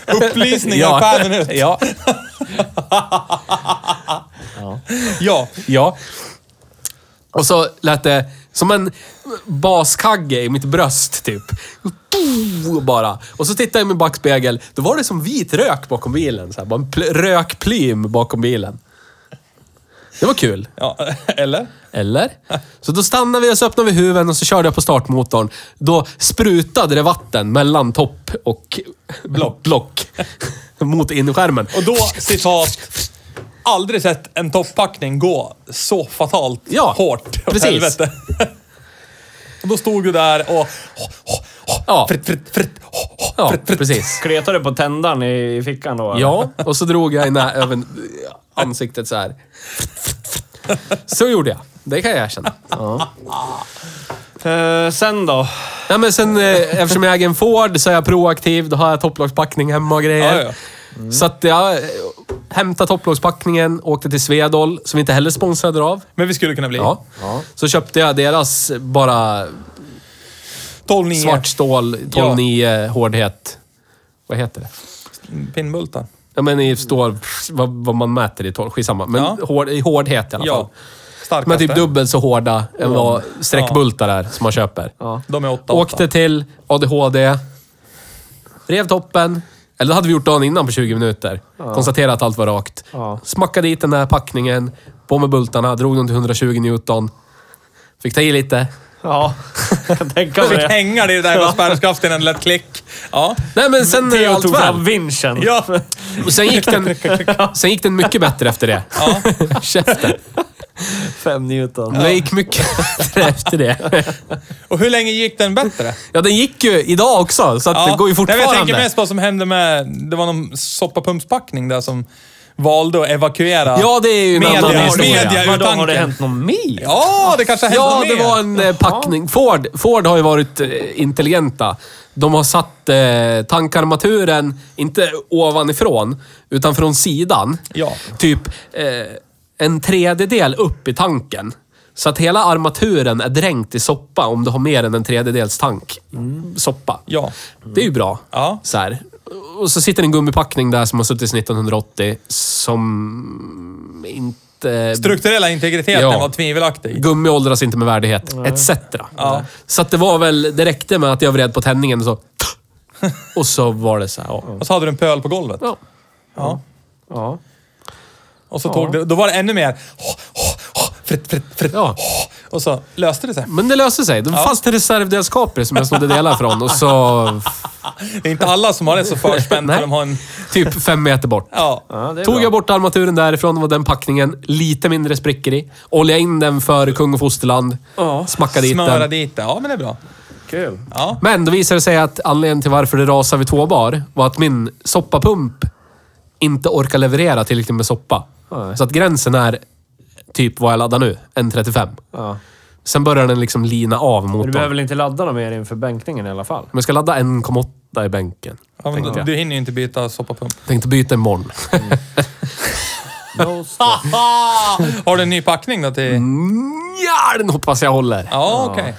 upplysningar ja. per minut. ja. Ja. Ja. Och så lät det som en baskagge i mitt bröst, typ. Boom, Bara. Och så tittade jag i min backspegel. Då var det som vit rök bakom bilen. Så här, bara en pl- rökplym bakom bilen. Det var kul. ja. Eller? Eller? Så då stannade vi och så öppnade vi huven och så körde jag på startmotorn. Då sprutade det vatten mellan topp och block, block mot inskärmen. Och då, citat. Aldrig sett en toppackning gå så fatalt Ja, hårt åt precis. helvete. Och då stod du där och... Ja, Fritt, fritt, fritt. ja precis. Kletade du på tändaren i, i fickan då? eller? Ja, och så drog jag i nä- över ansiktet så här. Så gjorde jag. Det kan jag erkänna. Eh, sen då? Nej, men sen, eh, eftersom jag äger en Ford så är jag proaktiv. Då har jag topplagspackning hemma och grejer. Ja, ja. Så att jag eh, hämtade topplagspackningen, åkte till Svedol, som vi inte heller sponsrade av. Men vi skulle kunna bli. Ja. Så köpte jag deras eh, bara 12 9 svart stål, 12-9 hårdhet. Vad heter det? Pinnbultar. Ja, men i stål, vad, vad man mäter i tolv, skitsamma. Men Ja. hård, i hårdhet i alla fall. Ja. Starkaste. Men typ dubbelt så hårda än vad sträckbultar är som man köper. De är åtta, Åkte åtta. till ADHD. Rev toppen. Eller det hade vi gjort dagen innan på 20 minuter. Konstaterade att allt var rakt. Ja. Smackade dit den där packningen. På med bultarna, drog dem till 120 Newton. Fick ta i lite. Ja, jag kan tänka mig Fick det. hänga det i det där jävla spärrskaftet innan det lät klick. Ja. Nej men sen är Theo allt tog fram väl. vinschen. Ja. Och sen gick den, sen gick den mycket bättre efter det. Ja. Käften. Fem Newton. Den gick mycket bättre efter det. Och hur länge gick den bättre? Ja, den gick ju idag också, så att det går ju Nej, men fortfarande. jag tänker mest på vad som hände med... Det var någon soppapumpspackning där som valde att evakuera. Ja, det är ju en Media- annan historia. media ur Vadå, har det tanken. hänt något mer? Ja, det kanske har hänt Ja, något det mer. var en eh, packning. Ford, Ford har ju varit eh, intelligenta. De har satt eh, tankarmaturen, inte ovanifrån, utan från sidan. Ja. Typ eh, en tredjedel upp i tanken. Så att hela armaturen är dränkt i soppa om du har mer än en tredjedels tank soppa. Ja. Det är ju bra. Ja. Så här. Och så sitter en gummipackning där som har suttit sedan 1980 som inte... Strukturella integriteten Ja. var tvivelaktig. Gummi åldras inte med värdighet, etc. Ja. Så att det var väl, det räckte med att jag vred på tändningen och så... Och så var det så här, ja. Och så hade du en pöl på golvet. Ja. Ja. Ja. Och så tog det, då var det ännu mer... Fritt, fritt, fritt. Ja. Och så löste det sig. Men det löste sig. Då fanns det reservdelskapare som jag snodde delar från och så... Det är inte alla som har det så förspänt när Nej. de har en... Typ fem meter bort. Ja. Ja, det är Tog bra. jag bort armaturen därifrån, var den packningen lite mindre sprickor i. Oljade in den för kung och fosterland. Ja. Smackade dit Smöra den. dit det. Ja, men det är bra. Kul. Ja. Men då visade det sig att anledningen till varför det rasade vid tvåbar var att min soppapump inte orkar leverera tillräckligt med soppa. Nej. Så att gränsen är typ vad jag laddar nu, 1,35. Ja. Sen börjar den liksom lina av Men du motorn. behöver väl inte ladda dem mer inför bänkningen i alla fall? Men jag ska ladda 1,8 i bänken. Ja, men Tänkte du, jag. du hinner ju inte byta soppapump. Tänkte byta imorgon. No Har du en ny packning då till... Mm. ja, den hoppas jag håller. Ja, okej.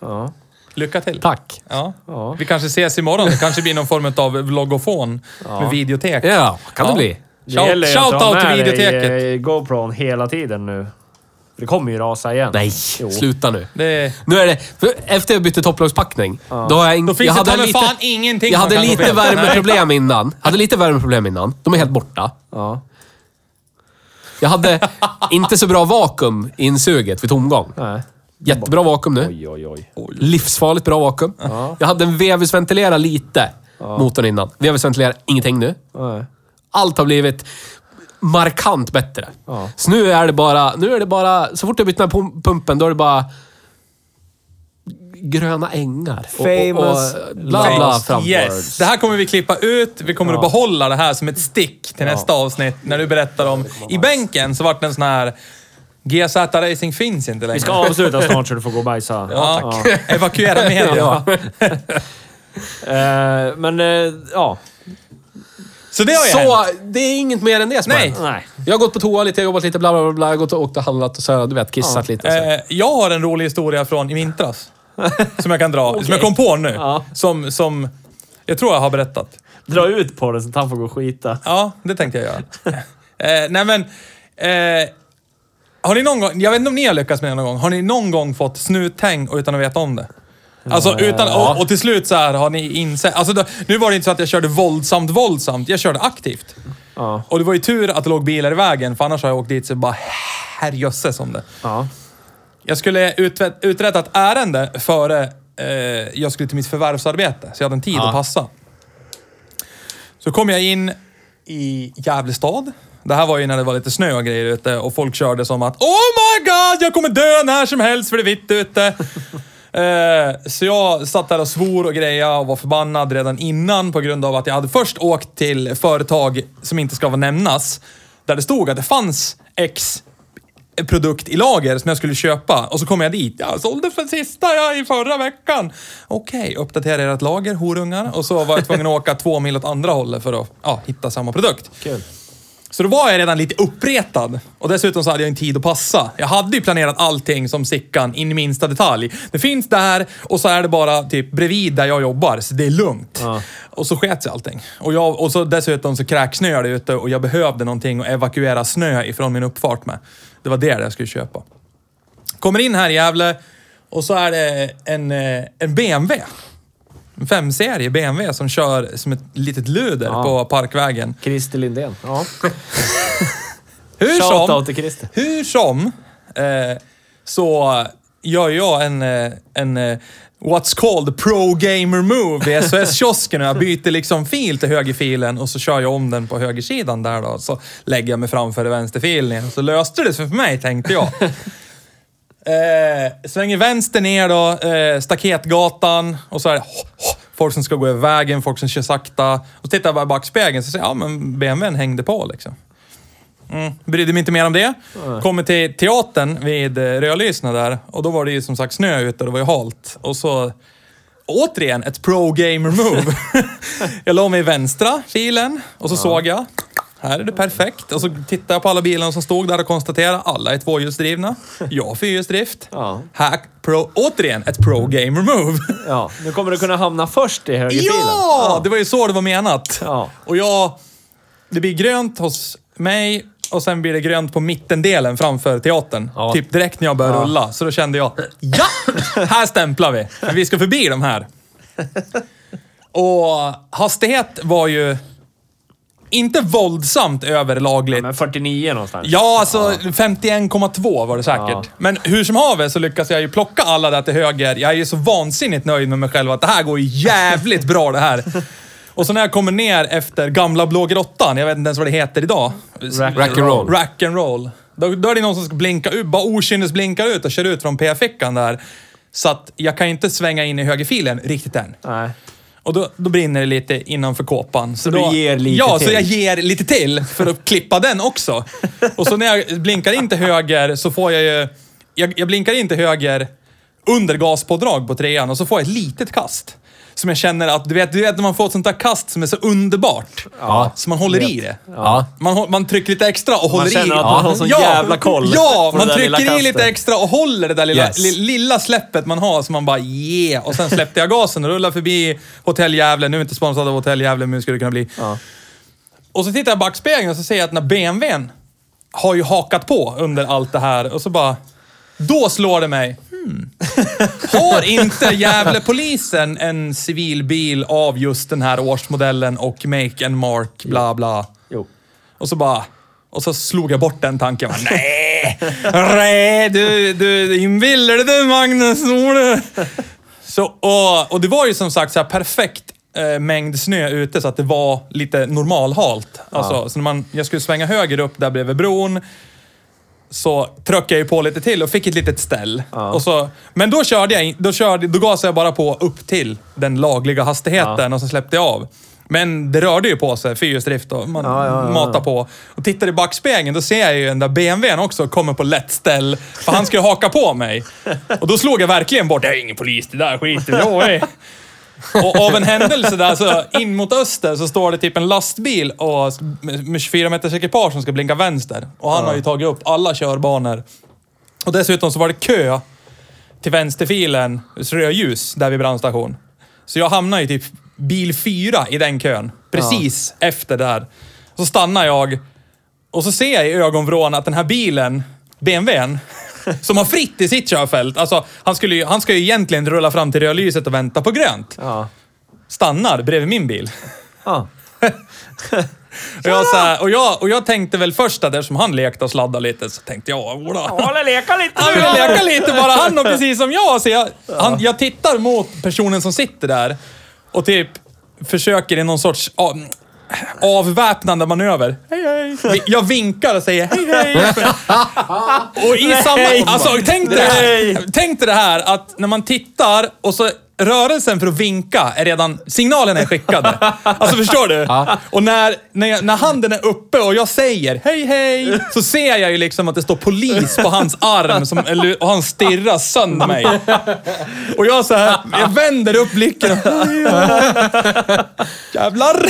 ja. Lycka till. Tack. Ja. Ja. Vi kanske ses imorgon. Det kanske blir någon form av vloggofon med videotek. Ja, kan Ja. det bli. Det Shout- gäller ju att shout ha out till med dig, videoteket. eh, GoPron hela tiden nu. Det kommer ju rasa igen. Nej, Jo. sluta nu. Det, Nu är det... för Efter jag bytte topplagspackning, då har jag inte... då finns jag det ta hade mig lite- fan ingenting Jag som hade kan gå lite fel. värmeproblem innan. Hade lite värmeproblem innan. De är helt borta. Ja. Jag hade inte så bra vakuum i insuget vid tomgång. Nej. Jättebra vakuum nu. Oj, oj, oj. Livsfarligt bra vakuum. Jag hade en vevhusventilera lite, motorn innan. Vevhusventilera ingenting nu. Nej. Allt har blivit markant bättre. Ja. Så nu är det bara... Nu är det bara... Så fort jag byter den här pum- pumpen, då är det bara... Gröna ängar. Och, Famous och, och bla, bla, Thanks. framför. Yes. Det här kommer vi klippa ut. Vi kommer att behålla det här som ett stick till nästa avsnitt. När du berättar om... I bänken så vart det en sån här... GZ Racing finns inte längre. Vi ska avsluta snart så du får gå och bajsa. ja, Evakuera media. Ja. Eh, men, eh, ja. Så det har ju hänt. Så, det är inget mer än det som Nej. har hänt. Nej. Jag har gått på toa lite, jag har jobbat lite, bla bla bla, bla. Jag har gått och åkt och handlat och så här, du vet, kissat lite. och Så. Eh, jag har en rolig historia från i vintras. Som jag kan dra. Som jag kom på nu. Ja. Som, som... Jag tror jag har berättat. Dra ut på den så att han får gå och skita. Ja, det tänkte jag göra. eh, nej men... Eh, har ni någon gång, jag vet inte om ni har lyckats med det någon gång, har ni någon gång fått snuthäng och utan att veta om det? Alltså utan, och, och till slut så här har ni insett, alltså då, nu var det inte så att jag körde våldsamt, våldsamt, jag körde aktivt. Ja. Och det var ju tur att det låg bilar i vägen, för annars har jag åkt dit så bara herrejösses om det. Ja. Jag skulle utve- uträtta ett ärende före eh, jag skulle till mitt förvärvsarbete, så jag hade en tid att passa. Så kom jag in i Gävle stad. Det här var ju när det var lite snö och grejer ute och folk körde som att Oh my god, jag kommer dö när som helst för det är vitt ute. Eh, Så jag satt där och svor och greja och var förbannad redan innan på grund av att jag hade först åkt till företag som inte ska nämnas. Där det stod att det fanns X produkt i lager som jag skulle köpa och så kom jag dit. Jag sålde för sista jag i förra veckan. Okej, uppdatera ert lager, horungar. Och så var jag tvungen att åka två mil åt andra hållet för att ja, hitta samma produkt. Kul. Så då var jag redan lite uppretad. Och dessutom så hade jag en tid att passa. Jag hade ju planerat allting som Sickan in i minsta detalj. Det finns där och så är det bara typ bredvid där jag jobbar, så det är lugnt. Och så sket sig allting. Och, jag, och så dessutom så kräksnöade det ute och jag behövde någonting att evakuera snö ifrån min uppfart med. Det var det jag skulle köpa. Kommer in här i Gävle och så är det en, eh, en BMW. En 5-serie BMW som kör som ett litet luder på parkvägen. Christer Lindén. Ja. Hur som, Shoutout till Christer. hur som eh, så gör jag en, eh, en eh, what's called pro gamer move i SOS-kiosken och jag byter liksom fil till högerfilen och så kör jag om den på högersidan där då. Så lägger jag mig framför vänsterfilen igen. Så löste det sig för mig tänkte jag. Eh, svänger vänster ner då, eh, staketgatan och så är det ho, ho, folk som ska gå över vägen, folk som kör sakta. Och så tittar jag bara i backspegeln så ser jag, ja men BMWn hängde på liksom. Mm, brydde mig inte mer om det. Kommer till teatern vid eh, Rödlysna där och då var det ju som sagt snö ute och det var ju halt. Och så återigen ett pro-gamer-move. jag la mig i vänstra filen och så såg jag. Här är det perfekt. Och så tittade jag på alla bilarna som stod där och konstaterade alla är tvåhjulsdrivna. Jag har fyrhjulsdrift. Ja. Hack pro, återigen ett pro-gamer-move. Ja, nu kommer du kunna hamna först i högerfilen. ja! Det var ju så det var menat. Ja. Och jag... Det blir grönt hos mig och sen blir det grönt på mittendelen framför teatern. Ja. Typ direkt när jag börjar rulla. Så då kände jag, ja! Här stämplar vi. För vi ska förbi de här. Och hastighet var ju inte våldsamt överlagligt. Men 49 någonstans. Ja, alltså 51,2 var det säkert. Ja. Men hur som haver så lyckas jag ju plocka alla där till höger. Jag är ju så vansinnigt nöjd med mig själv att det här går ju jävligt bra det här. Och så när jag kommer ner efter gamla blå grottan, jag vet inte ens vad det heter idag. Rack and roll. Rack and roll. Då, då är det någon som ska blinka ut, bara okynnes blinkar ut och kör ut från p-fickan där. Så att jag kan ju inte svänga in i högerfilen riktigt än. Nej. Och då, då brinner det lite innanför kåpan. Så, du då, ger lite Ja, så till. jag ger lite till för att klippa den också. Och så när jag blinkar in till höger så får jag ju... Jag, jag blinkar in till höger under gaspådrag på trean och så får jag ett litet kast. Som jag känner att, du vet, du vet när man får ett sånt där kast som är så underbart. Ja. Så man håller i det. Ja. Man, hå- man trycker lite extra och håller i. känner att man har sån jävla koll Ja, på det man där lilla trycker i lite kastet. extra och håller det där lilla, Yes. li, lilla släppet man har. Så man bara yeah. Och sen släppte jag gasen och rullade förbi Hotell Gävle. Nu är vi inte sponsrade av Hotell Gävle, men nu skulle det kunna bli. Ja. Och så tittar jag i backspegeln och så ser jag att när BMWn har ju hakat på under allt det här. Och så bara... Då slår det mig. Hmm. Har inte Gävlepolisen en civilbil av just den här årsmodellen och make and mark, bla bla. Jo. Och så bara... Och så slog jag bort den tanken. Jag bara, Nej! Nej! Du, du inbillar dig du Magnus! tror du?" Så, och, och det var ju som sagt så här perfekt eh, mängd snö ute så att det var lite normalhalt. Alltså, så när man, jag skulle svänga höger upp där bredvid bron så tryckte jag ju på lite till och fick ett litet ställ. Och så, men då körde jag, in- då, körde, då gasade jag bara på upp till den lagliga hastigheten och så släppte jag av. Men det rörde ju på sig, fyrhjulsdrift och man Ja, ja, ja, ja. matar på. Och tittar i backspegeln, då ser jag ju den där BMWn också kommer på lätt ställ. För han ska ju haka på mig. Och då slog jag verkligen bort, det är ingen polis, det där skiter jag i." Och av en händelse där så in mot öster så står det typ en lastbil och med med 24 meters ekipage som ska blinka vänster. Och han har ju tagit upp alla körbanor. Och dessutom så var det kö till vänsterfilen, rödljus, där vid brandstation. Så jag hamnade ju typ bil fyra i den kön. Precis efter där. Så stannar jag och så ser jag i ögonvrån att den här bilen, BMWn, som har fritt i sitt körfält. Alltså, han, skulle ju, han ska ju egentligen rulla fram till rödlyset och vänta på grönt Ja. stannar bredvid min bil. Ja. Och jag, så här, och, jag, och jag tänkte väl först att eftersom han lekte och sladdade lite så tänkte jag, åh, Hålla leka lite han nu. vill leka lite bara han och precis som jag. Så jag, han, jag tittar mot personen som sitter där och typ försöker i någon sorts ah, avväpnande manöver. Hej, hej. Vi- Jag vinkar och säger hej, hej. Och i samma... Alltså, tänk dig, det här, Nej. tänk dig det här att när man tittar och så rörelsen för att vinka är redan... Signalen är skickad. Alltså, förstår du? Och när, när, jag, när handen är uppe och jag säger hej, hej, så ser jag ju liksom att det står polis på hans arm som, eller- och han stirrar sönder mig. Och jag så här, jag vänder upp blicken och... Jävlar!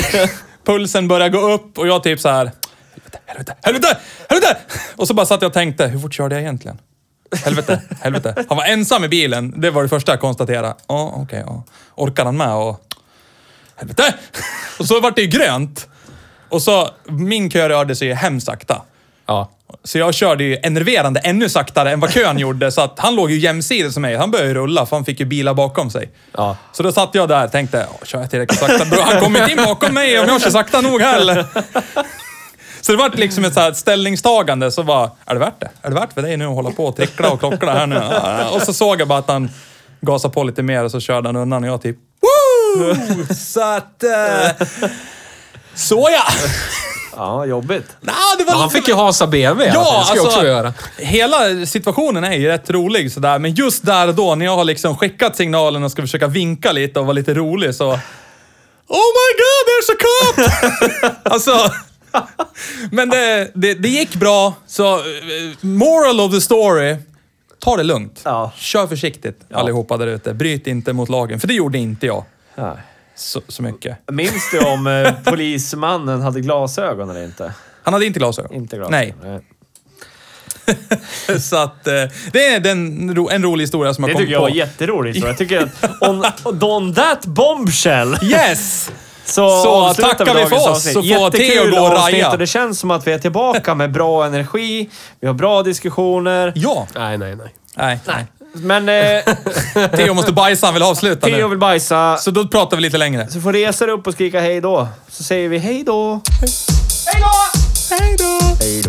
Pulsen börjar gå upp och jag typ så här. Helvete, helvete, helvete! Och så bara satt jag och tänkte, hur fort körde jag egentligen? Helvete, helvete. Han var ensam i bilen. Det var det första jag konstaterade. Ja, okej. ja. Orkar han med och... Helvete! Och så vart det ju grönt. Och så, min kö rörde sig ju hemskt sakta. Ja. Så jag körde ju enerverande ännu saktare än vad kön gjorde. Så att han låg ju jämsides med mig. Han började ju rulla för han fick ju bilar bakom sig. Ja. Så då satt jag där och tänkte, "Åh, kör jag tillräckligt sakta? Bro, han kommer inte in bakom mig om jag kör sakta nog heller. Så det vart liksom ett så här ställningstagande. Så bara, är det värt det? Är det värt för dig nu att hålla på och trickla och klockla här nu? Och så såg jag bara att han gasade på lite mer och så körde han undan och jag typ, woo! Så att... Eh, Såja! Ja, jobbigt. Nah, det var Han lite- fick ju hasa BMW. alltså, Ja, det ska jag alltså, också göra. hela situationen är ju rätt rolig sådär, men just där och då när jag har liksom skickat signalen och ska försöka vinka lite och vara lite rolig så... Oh my god, there's a cop! alltså... Men det, det, det gick bra, så eh, moral of the story. Ta det lugnt. Ja. Kör försiktigt allihopa där ute. Bryt inte mot lagen, för det gjorde inte jag Ja. så, så mycket. Minns du om eh, polismannen hade glasögon eller inte? Han hade inte glasögon. Inte glasögon. Nej, så att eh, det är den, ro- en rolig historia som jag Det kom tycker jag var på. jätteroligt. så Jag tycker att on, on that bombshell Yes! så, Så avslutar tackar vi dagens för oss, avsnitt. så får Theo Jättekul gå och avsnitt raja. och Det känns som att vi är tillbaka med bra energi. Vi har bra diskussioner. Ja. Nej, nej, nej. Nej. Nej. Men eh, Theo måste bajsa, han vill avsluta Theo nu. vill bajsa. Så då pratar vi lite längre. Så får resa dig upp och skrika hej då. Så säger vi hej då. Hej då! Hej